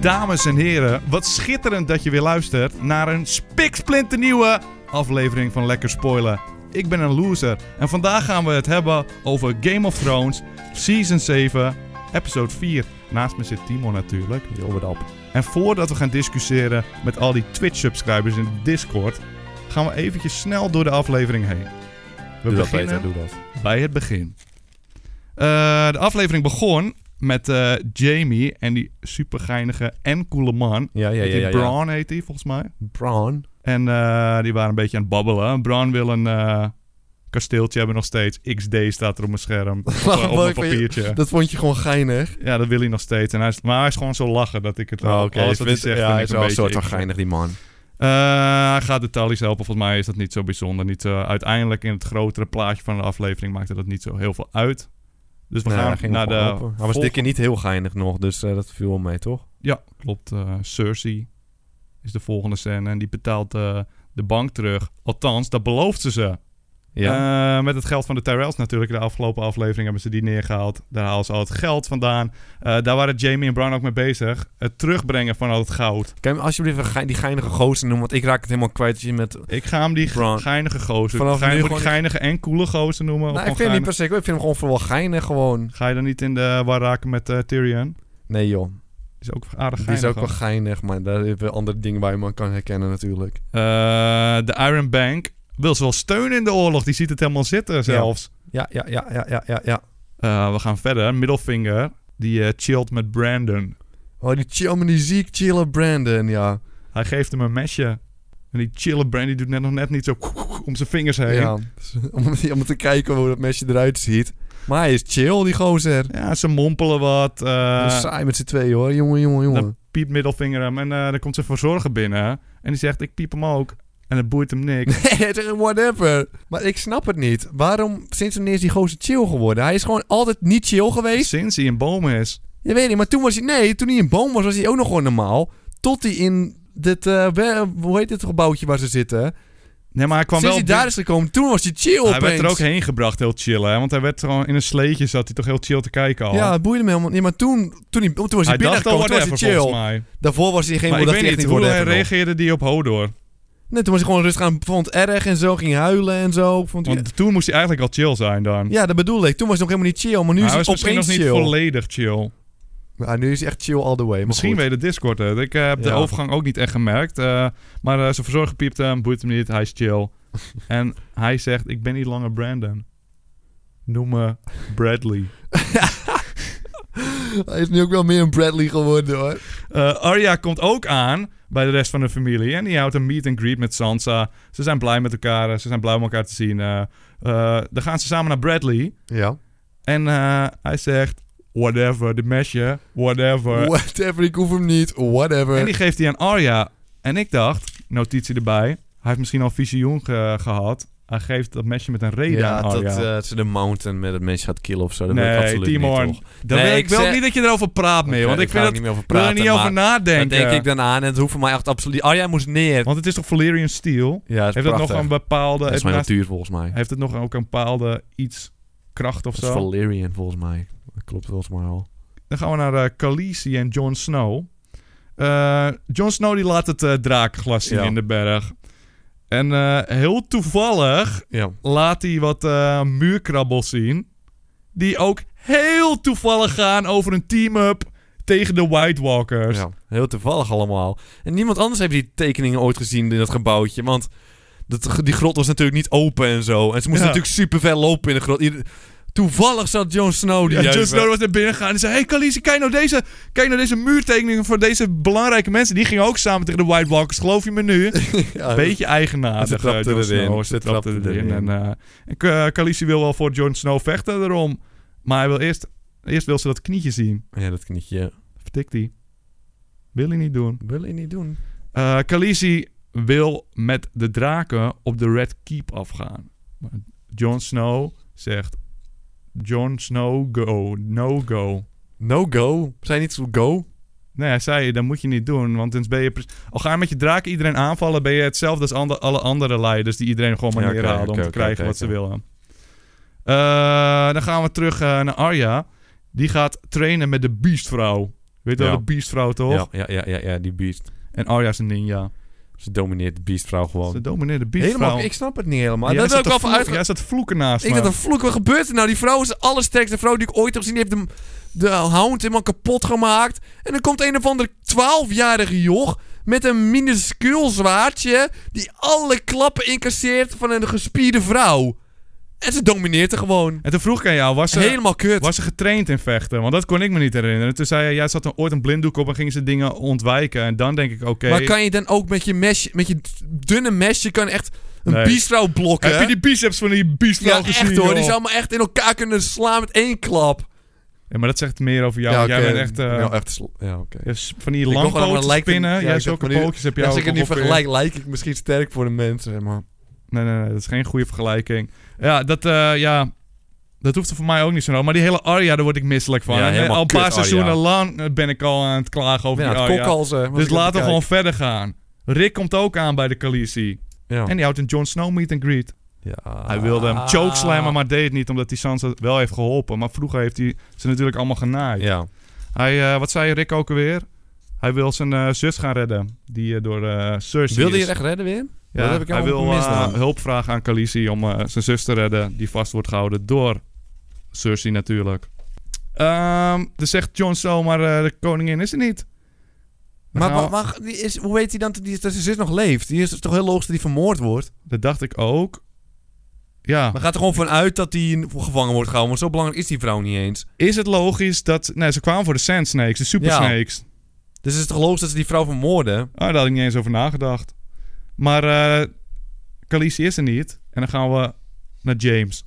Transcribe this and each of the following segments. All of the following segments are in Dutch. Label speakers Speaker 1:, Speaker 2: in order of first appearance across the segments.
Speaker 1: dames en heren. Wat schitterend dat je weer luistert naar een spiksplinternieuwe aflevering van Lekker Spoilen. Ik ben een loser en vandaag gaan we het hebben over Game of Thrones Season 7, Episode 4. Naast me zit Timo natuurlijk.
Speaker 2: Yo, wat op.
Speaker 1: En voordat we gaan discussiëren met al die Twitch-subscribers in Discord, gaan we eventjes snel door de aflevering heen. We
Speaker 2: doe dat,
Speaker 1: beginnen
Speaker 2: Peter, doe dat.
Speaker 1: bij het begin. Eh, de aflevering begon met eh, Jamie en die supergeinige en coole man.
Speaker 2: Ja, ja, ja.
Speaker 1: die
Speaker 2: ja, ja.
Speaker 1: Braun heet hij volgens mij.
Speaker 2: Braun.
Speaker 1: En eh, die waren een beetje aan het babbelen. Braun wil een eh, kasteeltje hebben nog steeds. XD staat er op mijn scherm. Op, eh, op mijn
Speaker 2: Mooi van je.
Speaker 1: papiertje.
Speaker 2: Oh, Dat vond je gewoon geinig.
Speaker 1: Ja, dat wil hij nog steeds. En hij is, maar hij is gewoon zo lachen dat ik het
Speaker 2: Oh,
Speaker 1: al.
Speaker 2: oké.
Speaker 1: alles dus
Speaker 2: Je
Speaker 1: wat hij
Speaker 2: vindt-
Speaker 1: zegt
Speaker 2: ja,
Speaker 1: vind
Speaker 2: hij
Speaker 1: ik
Speaker 2: is
Speaker 1: een
Speaker 2: wel een
Speaker 1: beetje
Speaker 2: soort van
Speaker 1: XD.
Speaker 2: geinig, die man.
Speaker 1: Eh, hij gaat de Tallies helpen. Volgens mij is dat niet zo bijzonder. Niet, eh, uiteindelijk in het grotere plaatje van de aflevering maakte dat niet zo heel veel uit. Dus we
Speaker 2: Nou, hij
Speaker 1: gaan
Speaker 2: ging
Speaker 1: naar
Speaker 2: nog wel
Speaker 1: de...
Speaker 2: open. Hij was
Speaker 1: vol-
Speaker 2: dikke niet heel geinig nog, dus eh, dat viel wel mee, toch?
Speaker 1: Ja, klopt. eh, Cersei is de volgende scène. En die betaalt eh, de bank terug. Althans, dat belooft ze ze.
Speaker 2: Ja.
Speaker 1: Eh, met het geld van de Tyrells natuurlijk. De afgelopen aflevering hebben ze die neergehaald. Daar halen ze al het geld vandaan. Eh, daar waren Jamie en Brown ook mee bezig. Het terugbrengen van al het goud.
Speaker 2: Kan je me alsjeblieft een ge- die geinige gozer noemen, want ik raak het helemaal kwijt als je met...
Speaker 1: Ik ga hem die ge-
Speaker 2: Bron.
Speaker 1: geinige gozer...
Speaker 2: Vanaf
Speaker 1: gein-
Speaker 2: nu
Speaker 1: moet ik
Speaker 2: gewoon-
Speaker 1: geinige en coole gozer noemen? Of
Speaker 2: Nou,
Speaker 1: gewoon
Speaker 2: ik vind hem niet
Speaker 1: geinig?
Speaker 2: per se... Ik vind hem gewoon vooral geinig, gewoon.
Speaker 1: Ga je dan niet in de war raken met eh, Tyrion?
Speaker 2: Nee, joh.
Speaker 1: Is ook aardig
Speaker 2: Die is
Speaker 1: geinig
Speaker 2: ook wel
Speaker 1: hoor.
Speaker 2: geinig, maar daar hebben we andere dingen waar je man kan herkennen natuurlijk.
Speaker 1: Eh, De Iron Bank wil ze wel steunen in de oorlog. Die ziet het helemaal zitten zelfs.
Speaker 2: Ja, ja, ja, ja, ja, ja, ja.
Speaker 1: Eh, we gaan verder. Middelvinger. Die eh, chillt met Brandon.
Speaker 2: Oh, die chill, maar die ziek chillen Brandon, ja.
Speaker 1: Hij geeft hem een mesje. En die chille Brandon doet net nog net niet zo om zijn vingers heen. Ja.
Speaker 2: ja. om, om te kijken hoe dat mesje eruit ziet. Maar hij is chill, die gozer.
Speaker 1: ze mompelen wat.
Speaker 2: Dat is
Speaker 1: eh
Speaker 2: saai met z'n tweeën, hoor. Jongen, jongen, jongen.
Speaker 1: piept Middelvinger hem. En eh dan komt zijn verzorger binnen. En die zegt, ik piep hem ook. En het boeit hem niks.
Speaker 2: Nee, het is een whatever. Maar ik snap het niet. Waarom, sinds wanneer is die gozer chill geworden? Hij is gewoon altijd niet chill geweest.
Speaker 1: Sinds hij een boom is.
Speaker 2: Je weet niet, maar toen was hij... Nee, toen hij in boom was, was hij ook nog gewoon normaal. Tot hij in dit... eh, we- hoe heet dit gebouwtje waar ze zitten?
Speaker 1: Nee, maar hij kwam
Speaker 2: Sinds
Speaker 1: wel...
Speaker 2: hij daar
Speaker 1: binnen-
Speaker 2: is gekomen, toen was hij chill
Speaker 1: Hij werd er ook
Speaker 2: opeens.
Speaker 1: heen gebracht, heel chill, hè? Want hij werd gewoon in een sleetje zat hij toch heel chill te kijken al.
Speaker 2: Ja, het boeide me helemaal niet. Maar toen, toen, hij, toen was hij
Speaker 1: oh. hij dacht al
Speaker 2: binnengekomen, toen was hij
Speaker 1: whatever volgens
Speaker 2: chill.
Speaker 1: mij.
Speaker 2: Daarvoor was hij geen...
Speaker 1: maar ik
Speaker 2: dat
Speaker 1: weet
Speaker 2: hij echt
Speaker 1: niet, hoe hij
Speaker 2: whatever nog.
Speaker 1: reageerde die op Hodor?
Speaker 2: Nee, toen was hij gewoon rustig aan, vond het erg en zo, ging huilen en zo. Vond hij-
Speaker 1: Want toen moest hij eigenlijk al chill zijn dan.
Speaker 2: Ja, dat bedoelde ik. Toen was hij nog helemaal niet chill, maar nu
Speaker 1: Maar
Speaker 2: is
Speaker 1: Nou, hij
Speaker 2: hij
Speaker 1: was misschien nog
Speaker 2: opeens
Speaker 1: niet
Speaker 2: chill.
Speaker 1: volledig chill.
Speaker 2: Ja, nu is hij echt chill all the way. Maar
Speaker 1: Misschien
Speaker 2: goed.
Speaker 1: weet de Discord het. Ik eh, heb de
Speaker 2: Ja.
Speaker 1: overgang ook niet echt gemerkt. eh, maar eh, zijn verzorger piept hem, boeit hem niet, hij is chill. en hij zegt, ik ben niet langer Brandon. Noem me Bradley.
Speaker 2: Hij is nu ook wel meer een Bradley geworden hoor.
Speaker 1: Eh, Arya komt ook aan bij de rest van de familie. En die houdt een meet and greet met Sansa. Ze zijn blij met elkaar. eh, Ze zijn blij om elkaar te zien. eh. Eh, dan gaan ze samen naar Bradley.
Speaker 2: Ja.
Speaker 1: En eh, hij zegt... Whatever, de mesje. Whatever.
Speaker 2: Whatever, ik hoef hem niet.
Speaker 1: en
Speaker 2: Whatever.
Speaker 1: die geeft hij aan Arya. En ik dacht... Notitie erbij. Hij heeft misschien al visioen ge- gehad. Hij geeft dat mesje met een reden aan Arya.
Speaker 2: eh, ze de mountain met het mens gaat killen of zo.
Speaker 1: nee, Timor. Dan
Speaker 2: Nee,
Speaker 1: wil, ik
Speaker 2: ik
Speaker 1: wil
Speaker 2: zeg-
Speaker 1: ook niet dat je erover praat meer. want ik, vind dat,
Speaker 2: niet meer over
Speaker 1: wil er
Speaker 2: praten.
Speaker 1: niet over nadenken.
Speaker 2: denk ik dan aan en het hoeft voor mij echt absoluut... Oh, jij moest neer.
Speaker 1: Want het is toch Valyrian Steel?
Speaker 2: Ja, dat is
Speaker 1: Heeft dat nog een bepaalde...
Speaker 2: Dat is
Speaker 1: heeft
Speaker 2: mijn
Speaker 1: naast-
Speaker 2: natuur volgens mij.
Speaker 1: Heeft het nog ook een bepaalde iets kracht of
Speaker 2: Dat is
Speaker 1: zo?
Speaker 2: Valerian volgens mij. Dat klopt volgens mij al.
Speaker 1: Dan gaan we naar eh Khaleesi en Jon Snow. Eh Jon Snow die laat het eh, draakglas zien
Speaker 2: Ja.
Speaker 1: in de berg. En eh, heel toevallig
Speaker 2: Ja.
Speaker 1: laat hij wat eh, muurkrabbels zien. Die ook heel toevallig gaan over een eh, team-up tegen de White Walkers.
Speaker 2: Ja, heel toevallig allemaal. En niemand anders heeft die tekeningen ooit gezien in dat gebouwtje. Want dat, die grot was natuurlijk niet open en zo. En ze moesten
Speaker 1: Ja.
Speaker 2: natuurlijk super ver lopen in de grot. Ieder- toevallig zat Jon Snow die
Speaker 1: Ja,
Speaker 2: juist-
Speaker 1: Jon Snow was naar binnen gegaan en zei... Hey Khaleesi, kijk nou deze, kijk nou deze muurtekeningen van deze belangrijke mensen. Die gingen ook samen tegen de White Walkers. Geloof je me nu?
Speaker 2: Ja,
Speaker 1: Beetje eigenaardig.
Speaker 2: Ze trapte
Speaker 1: eh, Jon
Speaker 2: erin.
Speaker 1: Snow. Ze trapte erin. En, eh, en K- Khaleesi wil wel voor Jon Snow vechten erom. Maar hij wil eerst, eerst wil ze dat knietje zien.
Speaker 2: Ja, dat knietje.
Speaker 1: Vertikt hij. Wil hij niet doen.
Speaker 2: Wil je niet doen.
Speaker 1: Eh Khaleesi wil met de draken op de Red Keep afgaan. Maar Jon Snow zegt... Jon Snow, go. No go.
Speaker 2: No go. Zijn niet zo go.
Speaker 1: Nee, hij zei, dat moet je niet doen. Want dan ben je... pre- Al ga je met je draak iedereen aanvallen... ben je hetzelfde als ander- alle andere leiders... die iedereen gewoon maar
Speaker 2: Ja, oké,
Speaker 1: neerhalen... om
Speaker 2: oké,
Speaker 1: te
Speaker 2: oké,
Speaker 1: krijgen
Speaker 2: oké,
Speaker 1: wat ze
Speaker 2: oké.
Speaker 1: willen. Eh, dan gaan we terug eh, naar Arya. Die gaat trainen met de Beastvrouw. Weet je wel,
Speaker 2: Ja.
Speaker 1: de beastvrouw toch?
Speaker 2: Ja, ja, ja, ja, ja, die beest.
Speaker 1: En Arya is een ninja.
Speaker 2: Ze domineert de beastvrouw gewoon.
Speaker 1: Ze domineert de beastvrouw.
Speaker 2: Helemaal, ik snap het niet helemaal.
Speaker 1: Jij
Speaker 2: dat wil
Speaker 1: zat
Speaker 2: ik
Speaker 1: te
Speaker 2: wel van
Speaker 1: vloeken-
Speaker 2: uitgaan.
Speaker 1: Jij zat te vloeken naast
Speaker 2: Ik
Speaker 1: me.
Speaker 2: dacht, een vloek, wat gebeurt er nou? Die vrouw is de allersterkste vrouw die ik ooit heb gezien. Die heeft de, de hound helemaal kapot gemaakt. En dan komt een of ander 12-jarige joch met een minuscuul zwaardje... die alle klappen incasseert van een gespierde vrouw. En ze domineert er gewoon.
Speaker 1: En toen vroeg ik aan jou, was ze,
Speaker 2: Helemaal kut.
Speaker 1: was ze getraind in vechten? Want dat kon ik me niet herinneren. Toen zei je, jij zat dan ooit een blinddoek op en gingen ze dingen ontwijken. En dan denk ik, oké.
Speaker 2: Maar kan je dan ook met je mesje, met je dunne mesje, kan echt een
Speaker 1: Nee.
Speaker 2: biesvrouw blokken?
Speaker 1: Heb je die biceps van die biestvrouw
Speaker 2: ja,
Speaker 1: gezien?
Speaker 2: echt hoor. Die
Speaker 1: joh?
Speaker 2: zou me echt in elkaar kunnen slaan met één klap.
Speaker 1: Ja, maar dat zegt meer over jou. want
Speaker 2: oké.
Speaker 1: Jij bent echt... eh,
Speaker 2: ja, echt sl- ja, oké.
Speaker 1: je hebt Van die
Speaker 2: wil gewoon
Speaker 1: langpoten
Speaker 2: allemaal lijken-
Speaker 1: spinnen.
Speaker 2: ja,
Speaker 1: jij
Speaker 2: ik
Speaker 1: zulke
Speaker 2: heb- maar nu-
Speaker 1: pootjes heb jij
Speaker 2: Ja, als
Speaker 1: ook
Speaker 2: ik het niet
Speaker 1: ongeveer.
Speaker 2: vergelijk, lijk ik misschien sterk voor de mensen, maar...
Speaker 1: Nee, nee, nee. Dat is geen goede vergelijking. Ja, dat... eh, ja, dat hoeft er voor mij ook niet zo nodig. Maar die hele Arya, daar word ik misselijk van.
Speaker 2: Ja,
Speaker 1: En
Speaker 2: helemaal
Speaker 1: al een paar
Speaker 2: kut, Oh, Arya.
Speaker 1: seizoenen lang eh, ben ik al aan het klagen over die
Speaker 2: Ja,
Speaker 1: Arya.
Speaker 2: het kokhalzen. was
Speaker 1: Dus
Speaker 2: ik aan
Speaker 1: laten
Speaker 2: het
Speaker 1: we gewoon verder gaan. Rick komt ook aan bij de Khaleesi.
Speaker 2: kijken.
Speaker 1: En die houdt een Jon Snow meet and greet.
Speaker 2: Ja. Ja.
Speaker 1: Hij wilde hem chokeslammen, maar deed het niet. Omdat hij Sansa wel heeft geholpen. Maar vroeger heeft hij ze natuurlijk allemaal genaaid.
Speaker 2: Ja.
Speaker 1: Hij, eh, wat zei Rick ook alweer? Hij wil zijn eh, zus gaan redden. Die eh, door eh Cersei
Speaker 2: Wilde je
Speaker 1: is.
Speaker 2: het echt redden weer?
Speaker 1: Ja,
Speaker 2: dat heb ik
Speaker 1: hij
Speaker 2: helemaal
Speaker 1: wil
Speaker 2: misdaan.
Speaker 1: eh, hulp vragen aan Khaleesi om eh, zijn zus te redden. Die vast wordt gehouden door Cersei natuurlijk. Ehm dan zegt Jon Snow, maar eh, de koningin is er niet. Dan
Speaker 2: Maar,
Speaker 1: gaan we-
Speaker 2: maar, maar die is, hoe weet hij dan dat die- dat zijn zus nog leeft? Die is toch heel logisch dat die vermoord wordt?
Speaker 1: Dat dacht ik ook. Ja.
Speaker 2: Maar gaat er gewoon vanuit dat die gevangen wordt gehouden? Want zo belangrijk is die vrouw niet eens.
Speaker 1: Is het logisch dat... Nee, ze kwamen voor de Sand Snakes, de Super
Speaker 2: Ja.
Speaker 1: Snakes.
Speaker 2: Dus is het toch logisch dat ze die vrouw vermoorden?
Speaker 1: Ah, daar had ik niet eens over nagedacht. Maar eh Khaleesi is er niet. En dan gaan we naar James.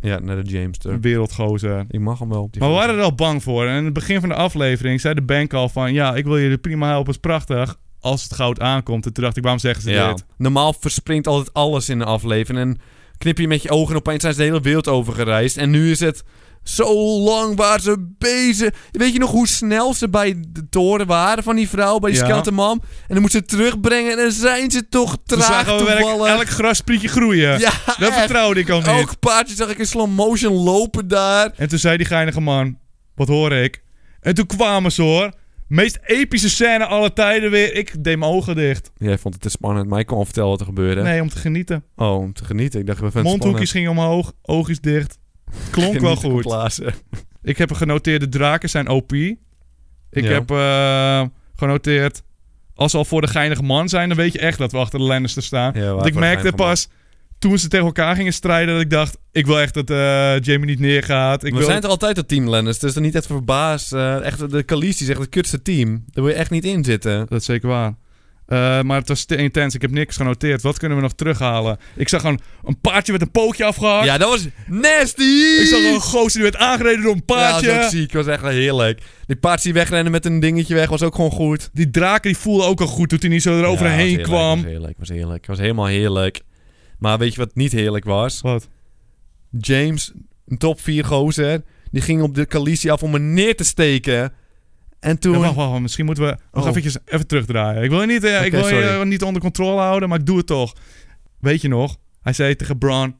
Speaker 2: Ja, naar de James
Speaker 1: Een wereldgozer.
Speaker 2: Ik mag hem wel. Die
Speaker 1: Maar we
Speaker 2: vrouw.
Speaker 1: waren er al bang voor. En in het begin van de aflevering zei de bank al van... Ja, ik wil jullie prima helpen, is prachtig. Als het goud aankomt. En toen dacht ik, waarom zeggen ze
Speaker 2: Ja.
Speaker 1: dit?
Speaker 2: Normaal verspringt altijd alles in de aflevering. En knip je met je ogen en opeens zijn ze de hele wereld overgereisd. En nu is het zo lang waar ze bezig. Weet je nog hoe snel ze bij de toren waren van die vrouw, bij die
Speaker 1: Ja.
Speaker 2: skeleton man? En dan moeten ze terugbrengen en dan zijn ze toch
Speaker 1: Toen
Speaker 2: traag
Speaker 1: zagen we werk-
Speaker 2: toevallig.
Speaker 1: elk grasprietje groeien.
Speaker 2: ja,
Speaker 1: dat
Speaker 2: echt.
Speaker 1: vertrouwde ik al niet.
Speaker 2: Elk paardje zag ik in slow motion lopen daar.
Speaker 1: En toen zei die geinige man, wat hoor ik? En toen kwamen ze hoor. Meest epische scène alle tijden weer. Ik deed mijn ogen dicht.
Speaker 2: Jij vond het te spannend, maar ik kon al vertellen wat er gebeurde.
Speaker 1: Nee, om te genieten.
Speaker 2: Oh, om te genieten. Ik dacht, we vinden het
Speaker 1: Mondhoekjes gingen omhoog, oogjes dicht. Klonk wel goed. Ik heb genoteerd, de draken zijn OP. Ik
Speaker 2: Ja.
Speaker 1: heb eh, genoteerd, als we al voor de geinige man zijn, dan weet je echt dat we achter de Lannister staan. Want ik merkte pas, toen ze tegen elkaar gingen strijden, dat ik dacht, ik wil echt dat eh Jamie niet neergaat. Ik
Speaker 2: we
Speaker 1: wil...
Speaker 2: zijn toch altijd het team Lenners, dus dan niet echt verbaasd. eh, echt, de Khaleesi is echt het kutste team. Daar wil je echt niet in zitten.
Speaker 1: Dat is zeker waar. Eh, maar het was te intens. Ik heb niks genoteerd. Wat kunnen we nog terughalen? Ik zag gewoon een paardje met een pootje afgehakt.
Speaker 2: Ja, dat was nasty!
Speaker 1: Ik zag gewoon een gozer die werd aangereden door een paardje.
Speaker 2: Ja, dat was ook ziek. was echt heerlijk. Die paard die wegrennen met een dingetje weg was ook gewoon goed.
Speaker 1: die draken die voelden ook al goed toen hij niet zo
Speaker 2: Ja, was
Speaker 1: eroverheen
Speaker 2: heerlijk,
Speaker 1: kwam.
Speaker 2: Was heerlijk, was heerlijk. Was helemaal heerlijk. Maar weet je wat niet heerlijk was?
Speaker 1: Wat?
Speaker 2: James, een top 4 gozer, die ging op de Khaleesi af om me neer te steken. En toen...
Speaker 1: Ja, wacht, wacht, wacht. Misschien moeten we nog
Speaker 2: Oh.
Speaker 1: eventjes even terugdraaien. Ik wil, je niet, eh, ik
Speaker 2: Oké,
Speaker 1: wil je
Speaker 2: sorry.
Speaker 1: eh, niet onder controle houden, maar ik doe het toch. Weet je nog? Hij zei tegen Bran,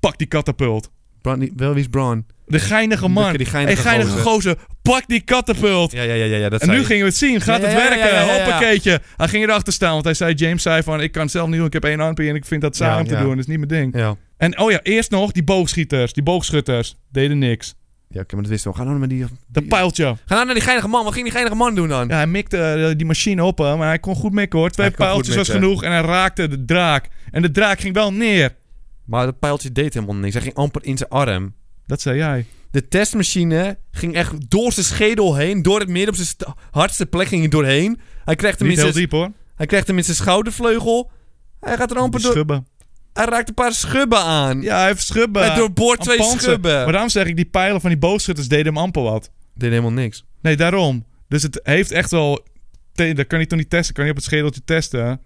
Speaker 1: pak die katapult.
Speaker 2: Bran, die- wel, wie is Bran?
Speaker 1: De geinige man.
Speaker 2: Die
Speaker 1: Hey,
Speaker 2: geinige,
Speaker 1: geinige
Speaker 2: gozer.
Speaker 1: gozer, pak die katapult.
Speaker 2: Ja, ja, ja, ja, ja, dat
Speaker 1: En
Speaker 2: zei
Speaker 1: nu gingen we het zien. Gaat
Speaker 2: Ja,
Speaker 1: het
Speaker 2: ja, ja,
Speaker 1: werken?
Speaker 2: ja, ja, ja.
Speaker 1: Hoppakeetje. Hij ging erachter staan. Want hij zei, James zei van... Ik kan het zelf niet doen. Ik heb één armpje en ik vind dat saai
Speaker 2: Ja,
Speaker 1: om te
Speaker 2: ja.
Speaker 1: doen. Dat is niet mijn ding.
Speaker 2: Ja.
Speaker 1: En oh ja, eerst nog die boogschieters. Die boogschutters. Deden niks.
Speaker 2: Ja, oké, maar dat wisten we. Ga nou naar die...
Speaker 1: Dat pijltje.
Speaker 2: Ga nou naar die geinige man. Wat ging die geinige man doen dan?
Speaker 1: Ja, hij mikte eh, die machine op hè, Maar hij kon goed mikken hoor. Twee
Speaker 2: Hij kon goed eh,
Speaker 1: pijltjes was
Speaker 2: mikken.
Speaker 1: genoeg. En hij raakte de draak. En de draak ging wel neer.
Speaker 2: Maar dat pijltje deed helemaal niks. Hij ging amper in zijn arm.
Speaker 1: Dat zei jij.
Speaker 2: De testmachine ging echt door zijn schedel heen. Door het midden op zijn st- hardste plek ging hij doorheen. Hij kreeg hem, in
Speaker 1: Niet heel
Speaker 2: zijn,
Speaker 1: diep hoor.
Speaker 2: hij kreeg hem in zijn schoudervleugel. Hij gaat er amper
Speaker 1: Die
Speaker 2: door...
Speaker 1: schubben.
Speaker 2: Hij raakt een paar schubben aan.
Speaker 1: Ja, hij heeft schubben.
Speaker 2: hij doorboort
Speaker 1: Aan
Speaker 2: twee
Speaker 1: panzer.
Speaker 2: schubben.
Speaker 1: Maar daarom zeg ik, die pijlen van die boogschutters deden hem amper wat.
Speaker 2: Deed helemaal niks.
Speaker 1: Nee, daarom. Dus het heeft echt wel. te- Dat kan hij toch niet testen. Kan hij op het schedeltje testen.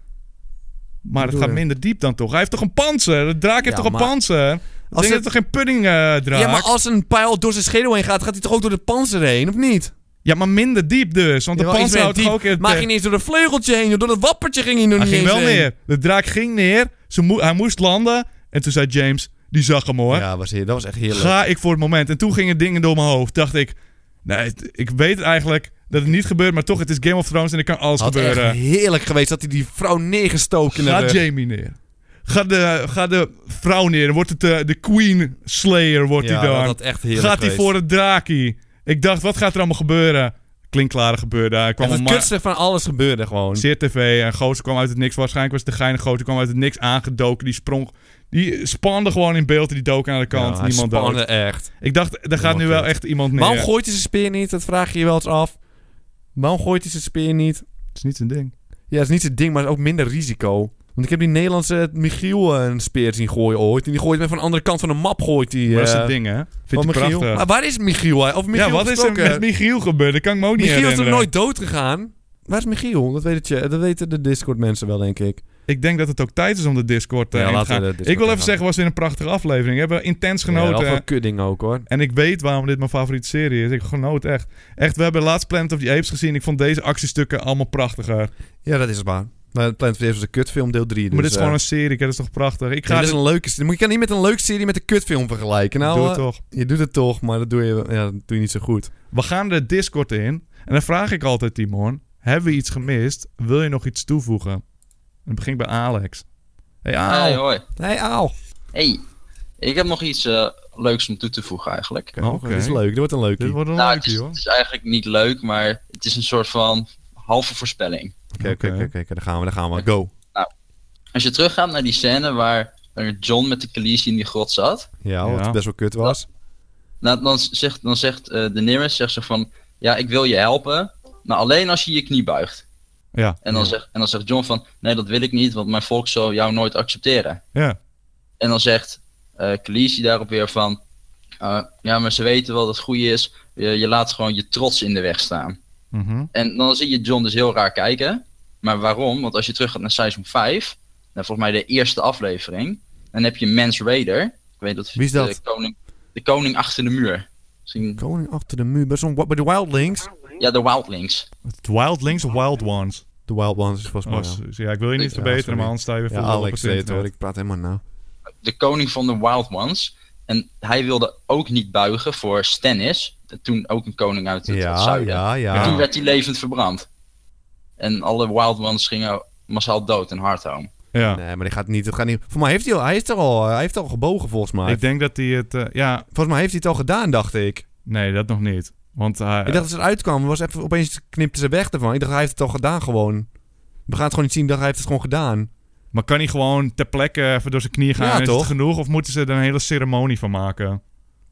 Speaker 1: Maar
Speaker 2: Wat
Speaker 1: het
Speaker 2: bedoel
Speaker 1: gaat
Speaker 2: je?
Speaker 1: minder diep dan toch? Hij heeft toch een panzer? De draak heeft
Speaker 2: Ja,
Speaker 1: toch
Speaker 2: maar-
Speaker 1: een panzer? Als
Speaker 2: Als
Speaker 1: heeft
Speaker 2: het-
Speaker 1: toch geen pudding eh, draak?
Speaker 2: Ja, maar als een pijl door zijn schedel heen gaat, gaat hij toch ook door de panzer heen, of niet?
Speaker 1: minder diep dus. Want de
Speaker 2: Jawel, iets
Speaker 1: panzer
Speaker 2: meer
Speaker 1: houdt toch
Speaker 2: diep.
Speaker 1: ook... in het-
Speaker 2: Maar hij ging niet eens door de vleugeltje heen, joh. door dat wappertje ging hij nog
Speaker 1: hij
Speaker 2: niet
Speaker 1: ging
Speaker 2: eens
Speaker 1: wel
Speaker 2: heen.
Speaker 1: neer. De draak ging neer. Ze moe- hij moest landen. En toen zei James, die zag hem hoor.
Speaker 2: Ja, was, heer- dat was echt heerlijk.
Speaker 1: Ga ik voor het moment. En toen gingen dingen door mijn hoofd. Dacht ik, nee, het- ik weet het eigenlijk. dat het niet gebeurt, maar toch, het is Game of Thrones en er kan alles
Speaker 2: Had echt
Speaker 1: gebeuren.
Speaker 2: heerlijk geweest dat hij die vrouw neergestoken in haar
Speaker 1: Ga
Speaker 2: rug.
Speaker 1: Jamie neer. Ga de, ga de vrouw neer. Dan wordt het eh, de Queen Slayer, wordt
Speaker 2: Ja,
Speaker 1: hij
Speaker 2: dat
Speaker 1: dan.
Speaker 2: had echt heerlijk
Speaker 1: gaat hij
Speaker 2: geweest.
Speaker 1: voor het draakie. Ik dacht, wat gaat er allemaal gebeuren? Klinkklare gebeurde. Hij kwam
Speaker 2: Echt
Speaker 1: een
Speaker 2: het
Speaker 1: ma-
Speaker 2: kutste van alles gebeurde gewoon.
Speaker 1: Zeer TV. En Gozer kwam uit het niks. Waarschijnlijk was het de geine Gozer kwam uit het niks aangedoken. Die sprong. Die spande gewoon in beeld. en Die dook aan de
Speaker 2: Ja,
Speaker 1: kant.
Speaker 2: hij
Speaker 1: Niemand dood.
Speaker 2: spande echt.
Speaker 1: Ik dacht, er gaat nu
Speaker 2: Niemand
Speaker 1: wel
Speaker 2: dood.
Speaker 1: echt iemand neer.
Speaker 2: Waarom gooit hij zijn speer niet? Dat vraag je je wel eens af. Waarom gooit hij zijn speer niet?
Speaker 1: Het is niet zijn ding.
Speaker 2: Ja, dat is niet zijn ding, maar ook minder risico. Want ik heb die Nederlandse Michiel eh, een speer zien gooien ooit. En die gooit met van de andere kant van de map gooit die.
Speaker 1: Maar dat is
Speaker 2: eh,
Speaker 1: zijn ding, hè?
Speaker 2: van
Speaker 1: Vindt hij
Speaker 2: Michiel.
Speaker 1: prachtig.
Speaker 2: Maar waar is Michiel? hè? Of Michiel
Speaker 1: ja, wat is er
Speaker 2: gesproken?
Speaker 1: met Michiel gebeurd? Dat kan ik me ook niet
Speaker 2: Michiel is toch
Speaker 1: herinneren.
Speaker 2: nooit dood gegaan? Waar is Michiel? Dat, weet het je, dat weten de Discord mensen wel, denk ik.
Speaker 1: Ik denk dat het ook tijd is om de Discord eh,
Speaker 2: Ja,
Speaker 1: in te
Speaker 2: laten we
Speaker 1: gaan.
Speaker 2: de Discord
Speaker 1: ik wil even
Speaker 2: ingaan.
Speaker 1: zeggen, het was weer een prachtige aflevering. We hebben intens
Speaker 2: Ja,
Speaker 1: genoten.
Speaker 2: wel veel kudding ook, hoor.
Speaker 1: En ik weet waarom dit mijn favoriete serie is. Ik genoot echt. Echt, we hebben laatst Planet of the Apes gezien. Ik vond deze actiestukken allemaal prachtiger.
Speaker 2: Ja, dat is het maar. Nou, Planet of the Apes was een kutfilm, deel 3. Dus,
Speaker 1: maar dit is
Speaker 2: eh,
Speaker 1: gewoon een serie. kijk, Dat is toch prachtig? Ik
Speaker 2: nee,
Speaker 1: ga...
Speaker 2: dit is een leuke serie. Moet Je kan niet met een leuke serie met een kutfilm vergelijken. Nou,
Speaker 1: Doe het
Speaker 2: eh,
Speaker 1: toch.
Speaker 2: Je doet het toch, maar dat doe je, ja, dat doe je niet zo goed.
Speaker 1: We gaan de Discord in. En dan vraag ik altijd Timon. Hebben we iets gemist? Wil je nog iets toevoegen? En het begint bij Alex. Hey, Al.
Speaker 3: Hey, hoi.
Speaker 2: Nee, auw.
Speaker 3: Hey, ik heb nog iets eh, leuks om toe te voegen eigenlijk.
Speaker 1: Oké.
Speaker 2: Oh, Dit is leuk, dit wordt een
Speaker 1: Dit
Speaker 2: leukie.
Speaker 1: wordt een
Speaker 3: nou, het
Speaker 1: leukie,
Speaker 3: is,
Speaker 1: hoor.
Speaker 3: het is eigenlijk niet leuk, maar het is een soort van halve voorspelling. Nou,
Speaker 2: Oké, oké,
Speaker 1: Oké.
Speaker 2: oké, oké, daar gaan we, daar gaan we. Go.
Speaker 3: Als je teruggaat naar die scène waar eh, John met de Khaleesi in die grot zat,
Speaker 2: Ja, wat
Speaker 1: Ja.
Speaker 2: best wel kut was.
Speaker 3: nou, dan zegt, dan zegt eh Daenerys zegt ze van, ja, ik wil je helpen, maar alleen als je je knie buigt.
Speaker 1: Ja.
Speaker 3: En dan, zegt, en dan zegt John van, nee, dat wil ik niet, want mijn volk zal jou nooit accepteren.
Speaker 1: Ja.
Speaker 3: En dan zegt eh Khaleesi daarop weer van, eh, ja, maar ze weten wel dat het goede is, je, je laat gewoon je trots in de weg staan.
Speaker 1: Mhm.
Speaker 3: En dan zie je John dus heel raar kijken. Maar waarom? Want als je terug gaat naar seizoen 5, nou, volgens mij de eerste aflevering, dan heb je Mans Raider. Ik weet dat
Speaker 2: Wie is dat?
Speaker 3: De koning, de koning achter de muur. Misschien,
Speaker 2: Koning achter de muur, bij, zo'n- bij de Wildlings.
Speaker 3: ja, de Wildlings.
Speaker 1: Het Wildlings of Wild Ones?
Speaker 2: De Wild Ones is volgens
Speaker 1: Oh,
Speaker 2: mij.
Speaker 1: s-
Speaker 2: ja.
Speaker 1: ja. ik wil je niet
Speaker 3: Ja,
Speaker 1: verbeteren,
Speaker 2: sorry.
Speaker 1: maar anders sta je weer
Speaker 2: Ja,
Speaker 1: voor de lul op
Speaker 2: Alex
Speaker 1: het
Speaker 2: zei het hoor,
Speaker 1: internet.
Speaker 2: ik praat helemaal na.
Speaker 3: De koning van de Wild Ones. En hij wilde ook niet buigen voor Stannis. Toen ook een koning uit het het
Speaker 2: Ja,
Speaker 3: zuiden.
Speaker 2: ja,
Speaker 3: En Toen
Speaker 2: ja.
Speaker 3: werd hij levend verbrand. En alle Wild Ones gingen massaal dood in Hardhome.
Speaker 1: Ja.
Speaker 2: Nee, maar die gaat niet, dat gaat niet. Voor mij heeft hij al, hij is er al, eh, hij heeft al gebogen volgens mij.
Speaker 1: Ik denk dat hij het... eh, ja,
Speaker 2: Volgens mij heeft hij het al gedaan, dacht ik.
Speaker 1: nee, dat nog niet. Want hij...
Speaker 2: Ik dacht dat ze eruit kwam, was even, opeens knipte ze weg ervan. Ik dacht, hij heeft het al gedaan gewoon. We gaan het gewoon niet zien, ik dacht, hij heeft het gewoon gedaan.
Speaker 1: Maar kan hij gewoon ter plekke even door zijn knieën gaan?
Speaker 2: Ja,
Speaker 1: en is
Speaker 2: toch?
Speaker 1: het genoeg? Of moeten ze er een hele ceremonie van maken?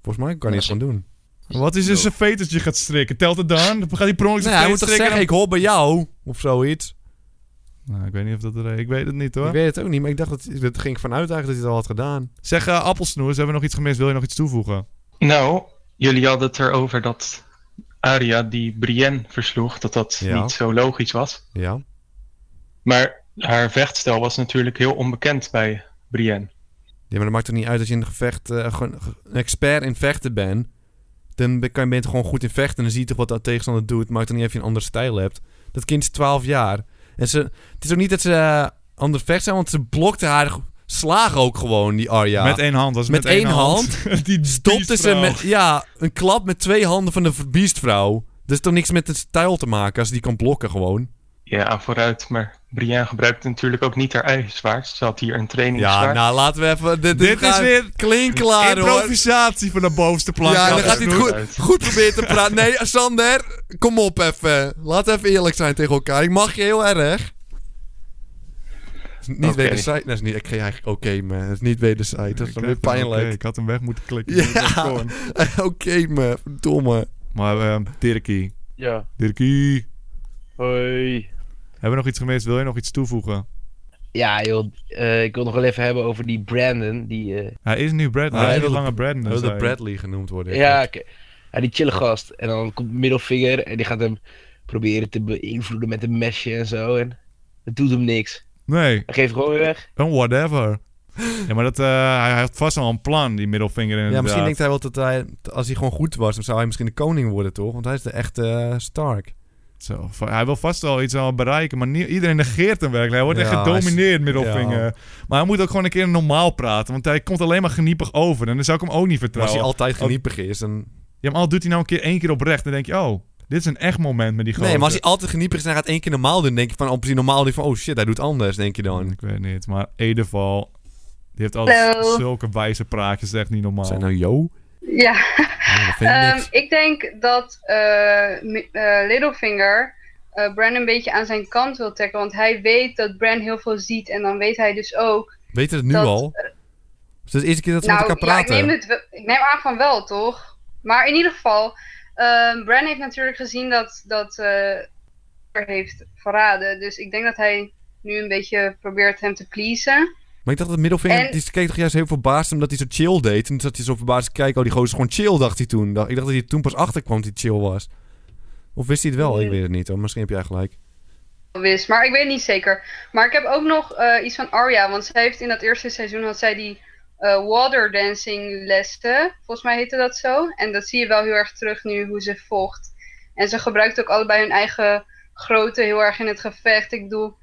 Speaker 2: Volgens mij kan hij het gewoon doen.
Speaker 1: Wat is dus als zijn vetertje gaat strikken? Telt het dan? Dan gaat hij per ongeluk
Speaker 2: Nee,
Speaker 1: zijn
Speaker 2: Nou
Speaker 1: veter
Speaker 2: hij moet toch
Speaker 1: strikken?
Speaker 2: zeggen, ik hoor bij jou, of zoiets.
Speaker 1: Nou, ik weet niet of dat... er- Ik weet het niet, hoor.
Speaker 2: Ik weet het ook niet, maar ik dacht dat, dat ging ik vanuit eigenlijk dat hij het al had gedaan.
Speaker 1: Zeg, eh, appelsnoers, hebben we nog iets gemist? Wil je nog iets toevoegen?
Speaker 4: Nou, jullie hadden het erover dat Arya die Brienne versloeg, dat dat
Speaker 2: Ja.
Speaker 4: niet zo logisch was.
Speaker 2: Ja.
Speaker 4: Maar haar vechtstijl was natuurlijk heel onbekend bij Brienne.
Speaker 2: Ja, maar dat maakt toch niet uit als je in een gevecht eh, gewoon ge- een expert in vechten bent. Dan ben kan- ben je toch gewoon goed in vechten en dan zie je toch wat de tegenstander doet. Maakt toch niet uit of je een andere stijl hebt. Dat kind is 12 jaar. En ze, het is ook niet dat ze eh, ander vecht zijn, want ze blokte haar g- slagen ook gewoon, die Arya.
Speaker 1: Met één hand. Was het
Speaker 2: Met één
Speaker 1: Die
Speaker 2: Stopte ze
Speaker 1: beestvrouw.
Speaker 2: met, ja, een klap met twee handen van de v- beastvrouw. Dat is toch niks met de stijl te maken als die kan blokken gewoon.
Speaker 4: Ja, vooruit, maar Brienne gebruikte natuurlijk ook niet haar eigen zwaard. Ze had hier een
Speaker 2: Ja,
Speaker 4: trainingszwaard.
Speaker 2: nou laten we even... Dit,
Speaker 1: Dit is
Speaker 2: gaat
Speaker 1: weer
Speaker 2: klinkklaar hoor.
Speaker 1: Improvisatie van de bovenste plank.
Speaker 2: Ja, dan
Speaker 4: dat
Speaker 2: gaat hij het
Speaker 4: doet
Speaker 2: goed,
Speaker 4: uit.
Speaker 2: goed proberen te praten. Nee, Sander, kom op even. Laat even eerlijk zijn tegen elkaar. Ik mag je heel erg. Is Niet
Speaker 4: Oké.
Speaker 2: wederzijds. Nee, is niet. Ik geef eigenlijk oké, man. Het is niet wederzijds. Dat is dan weer
Speaker 1: Oké,
Speaker 2: pijnlijk.
Speaker 1: ik had hem weg moeten klikken.
Speaker 2: Ja,
Speaker 1: Gewoon.
Speaker 2: oké, man. Verdomme.
Speaker 1: Maar ehm Dirkie.
Speaker 5: Ja,
Speaker 1: Dirkie.
Speaker 5: hoi.
Speaker 1: Hebben we nog iets gemist? Wil je nog iets toevoegen?
Speaker 5: Ja, joh, eh, ik wil nog wel even hebben over die Brandon. Die, eh,
Speaker 1: Hij is nu Brad.
Speaker 2: Ah,
Speaker 1: Hij
Speaker 2: hij
Speaker 1: is een
Speaker 2: wil-
Speaker 1: lange Brad.
Speaker 2: Hij wilde Bradley genoemd worden.
Speaker 5: ja, oké. ja, die chille gast. En dan komt de middelvinger en die gaat hem proberen te beïnvloeden met een mesje en zo. En het doet hem niks.
Speaker 1: Nee,
Speaker 5: Hij geeft gewoon weer weg.
Speaker 1: een whatever. Ja, maar dat, eh, hij hij had vast al een plan, die middelvinger inderdaad.
Speaker 2: Ja, misschien denkt hij wel dat hij, als hij gewoon goed was, dan zou hij misschien de koning worden, toch? Want hij is de echte eh, Stark.
Speaker 1: Zo, va- hij wil vast wel iets aan bereiken, maar nie- iedereen negeert hem werkelijk. Hij wordt echt
Speaker 2: Ja,
Speaker 1: gedomineerd, middelvinger.
Speaker 2: ja.
Speaker 1: Maar hij moet ook gewoon een keer normaal praten, want hij komt alleen maar geniepig over. En dan zou ik hem ook niet
Speaker 2: Maar als
Speaker 1: vertrouwen.
Speaker 2: hij altijd
Speaker 1: Ook-
Speaker 2: geniepig is, dan...
Speaker 1: Ja, maar al doet hij nou een keer één keer oprecht, dan denk je, oh, Dit is een echt moment met die grote.
Speaker 2: Nee, maar als hij altijd geniepig is en hij gaat één keer normaal doen, denk je van, oh precies normaal, denk je van, oh shit, hij doet anders, denk je dan.
Speaker 1: Ik weet niet, maar Edeval... Die heeft altijd
Speaker 6: Hallo.
Speaker 1: zulke wijze praatjes, echt niet normaal.
Speaker 2: Zijn nou yo?
Speaker 6: Ja,
Speaker 2: Oh, dat vind ik
Speaker 6: Ehm,
Speaker 2: niks.
Speaker 6: ik denk dat eh, mi- eh, Littlefinger eh Bran een beetje aan zijn kant wil trekken. Want hij weet dat Bran heel veel ziet. En dan weet hij dus ook.
Speaker 2: Weet je het nu
Speaker 6: dat- eh,
Speaker 2: al? Is het de eerste keer dat ze
Speaker 6: nou,
Speaker 2: met elkaar
Speaker 6: ja, ik,
Speaker 2: praten?
Speaker 6: neem het wel- ik neem aan van wel, toch? Maar in ieder geval, ehm Bran heeft natuurlijk gezien dat. dat eh, er heeft verraden. Dus ik denk dat hij nu een beetje probeert hem te pleasen.
Speaker 2: Maar ik dacht dat middelvinger,
Speaker 6: En-
Speaker 2: die keek toch juist heel verbaasd omdat hij zo chill deed. En dat hij zo verbaasd keek, oh die gozer is gewoon chill, dacht hij toen. Ik dacht dat hij toen pas achterkwam dat hij chill was. Of wist hij het wel? Ik weet het niet hoor, misschien heb jij gelijk.
Speaker 6: Wist, maar ik weet het niet zeker. Maar ik heb ook nog eh, iets van Arya. Want zij heeft in dat eerste seizoen had zij die eh water dancing lessen. Volgens mij heette dat zo. En dat zie je wel heel erg terug nu hoe ze vocht. En ze gebruikt ook allebei hun eigen grootte heel erg in het gevecht. Ik bedoel,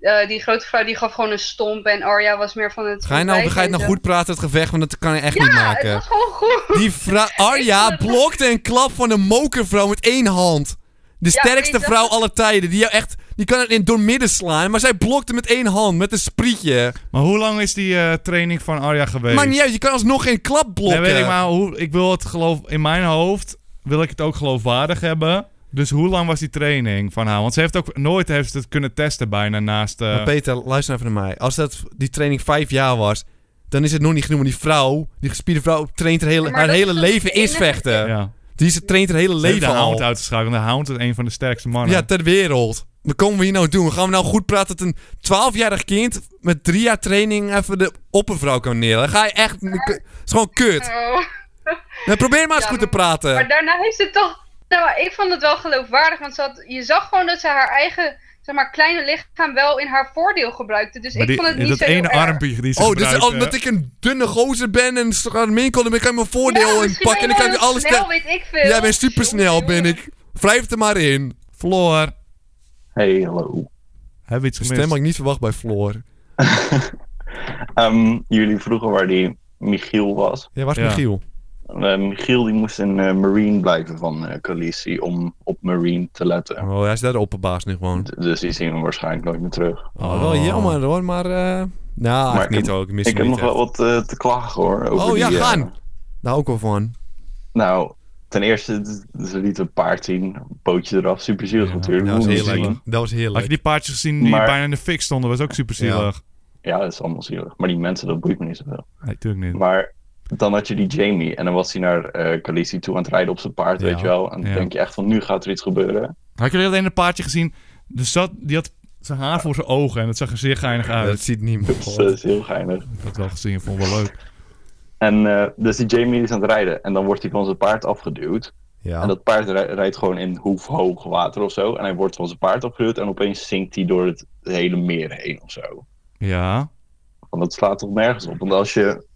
Speaker 6: eh, die grote vrouw die gaf gewoon een stomp. En Arya was meer van het.
Speaker 2: Ga je nou,
Speaker 6: ontwijken
Speaker 2: ga je
Speaker 6: en
Speaker 2: het nou
Speaker 6: zo.
Speaker 2: goed praten, het gevecht, want dat kan je echt niet
Speaker 6: Ja, het
Speaker 2: maken.
Speaker 6: was gewoon goed.
Speaker 2: Die vrouw, Arya blokte een klap van een mokervrouw met één hand. De
Speaker 6: Ja,
Speaker 2: sterkste
Speaker 6: ik dacht-
Speaker 2: vrouw aller tijden. Die, jou echt, die kan het in doormidden slaan, maar zij blokte met één hand, met een sprietje.
Speaker 1: Maar hoe lang is die eh, training van Arya geweest?
Speaker 2: Maakt niet uit, je kan alsnog geen klap
Speaker 1: Nee,
Speaker 2: blokken.
Speaker 1: weet ik maar. Hoe, ik wil het geloof... In mijn hoofd wil ik het ook geloofwaardig hebben. Dus hoe lang was die training van haar? Want ze heeft ook nooit heeft ze het kunnen testen bijna naast... eh,
Speaker 2: Maar Peter, luister even naar mij. Als dat, die training vijf jaar was, dan is het nog niet genoeg. Want die vrouw, die gespierde vrouw, traint haar hele,
Speaker 6: Ja, maar
Speaker 2: haar
Speaker 6: dat
Speaker 2: hele
Speaker 6: is ook
Speaker 2: leven
Speaker 6: de
Speaker 2: is
Speaker 6: enige-
Speaker 2: vechten.
Speaker 1: ja.
Speaker 2: eh, Die ze traint haar hele
Speaker 1: Ze heeft de
Speaker 2: leven
Speaker 1: Hound
Speaker 2: al.
Speaker 1: uitgeschakeld. De Hound is een van de sterkste mannen.
Speaker 2: Ja, ter wereld. Wat komen we hier nou doen? Gaan we nou goed praten dat een 12-jarig kind met drie jaar training even de oppervrouw kan neerleggen? Dan Ga je echt... Dat is gewoon kut.
Speaker 6: Oh.
Speaker 2: Nou, probeer maar eens
Speaker 6: Ja,
Speaker 2: goed te
Speaker 6: Maar
Speaker 2: praten.
Speaker 6: daarna heeft ze toch. Nou, maar ik vond het wel geloofwaardig, want ze had, je zag gewoon dat ze haar eigen zeg maar, kleine lichaam wel in haar voordeel gebruikte. Dus
Speaker 1: Maar
Speaker 6: ik
Speaker 1: die,
Speaker 6: vond het niet
Speaker 1: dat
Speaker 6: zo
Speaker 1: ene
Speaker 6: heel erg.
Speaker 1: armpje die ze
Speaker 2: Oh, dus
Speaker 1: gebruikt, eh,
Speaker 2: omdat ik een dunne gozer ben en ze gaan me inkomen, dan kan ik mijn voordeel
Speaker 6: Ja,
Speaker 2: in
Speaker 6: misschien
Speaker 2: pakken en dan kan
Speaker 6: ben je
Speaker 2: ik
Speaker 6: wel
Speaker 2: alles...
Speaker 6: snel,
Speaker 2: te-
Speaker 6: weet ik veel.
Speaker 2: Jij bent supersnel, ben ik. Wrijf het er maar in.
Speaker 1: Floor,
Speaker 4: Hey, hallo.
Speaker 1: hebben we iets
Speaker 2: De
Speaker 1: gemist?
Speaker 2: stem had ik niet verwacht bij Floor.
Speaker 7: Ehm, jullie vroegen waar die Michiel was.
Speaker 2: Jij was
Speaker 1: Ja.
Speaker 2: Michiel.
Speaker 7: Eh, Michiel die moest in eh, Marine blijven van eh Khaleesi om op Marine te letten.
Speaker 2: Oh, hij is daar de opperbaas nu gewoon.
Speaker 7: D- Dus die zien we waarschijnlijk nooit meer terug.
Speaker 2: Oh, wel jammer hoor, maar... eh Nou,
Speaker 7: Maar
Speaker 2: echt
Speaker 7: ik
Speaker 2: niet
Speaker 7: heb-
Speaker 2: ook. Ik mis
Speaker 7: Ik
Speaker 2: hem
Speaker 7: heb
Speaker 2: niet
Speaker 7: nog wel
Speaker 2: echt.
Speaker 7: wat eh, te klagen hoor. Over
Speaker 2: Oh ja,
Speaker 7: die, eh,
Speaker 2: gaan. Daar ook wel van.
Speaker 7: nou, ten eerste, d- ze lieten een paard zien. Bootje eraf, super zielig natuurlijk.
Speaker 2: Dat was
Speaker 7: Hoe moet je
Speaker 2: heerlijk.
Speaker 7: zien?
Speaker 2: Dat was heerlijk.
Speaker 1: Had je die paardjes gezien die
Speaker 7: eh, Maar-
Speaker 1: bijna in de fik stonden? Was ook super zielig.
Speaker 7: Ja, dat is allemaal zielig. Maar die mensen, dat boeit me niet zoveel.
Speaker 1: Nee, natuurlijk niet.
Speaker 7: Maar dan had je die Jamie en dan was hij naar eh Khaleesi toe aan het rijden op zijn paard,
Speaker 2: Ja,
Speaker 7: weet je wel. En dan
Speaker 1: ja.
Speaker 7: denk je echt van, nu gaat er iets gebeuren.
Speaker 1: Had jullie alleen een paardje gezien? Dus zat, die had zijn haar voor zijn ogen en dat zag er zeer geinig
Speaker 2: Ja, dat
Speaker 1: uit.
Speaker 2: ziet niemand.
Speaker 7: Dus, eh, dat is heel geinig.
Speaker 1: Ik had het wel gezien, vond het wel leuk.
Speaker 7: En eh, dus die Jamie is aan het rijden en dan wordt hij van zijn paard afgeduwd.
Speaker 2: Ja.
Speaker 7: En dat paard rij- rijdt gewoon in hoefhoog water of zo. En hij wordt van zijn paard afgeduwd en opeens zinkt hij door het hele meer heen of zo.
Speaker 1: Ja.
Speaker 7: Want dat slaat toch nergens op. Want als je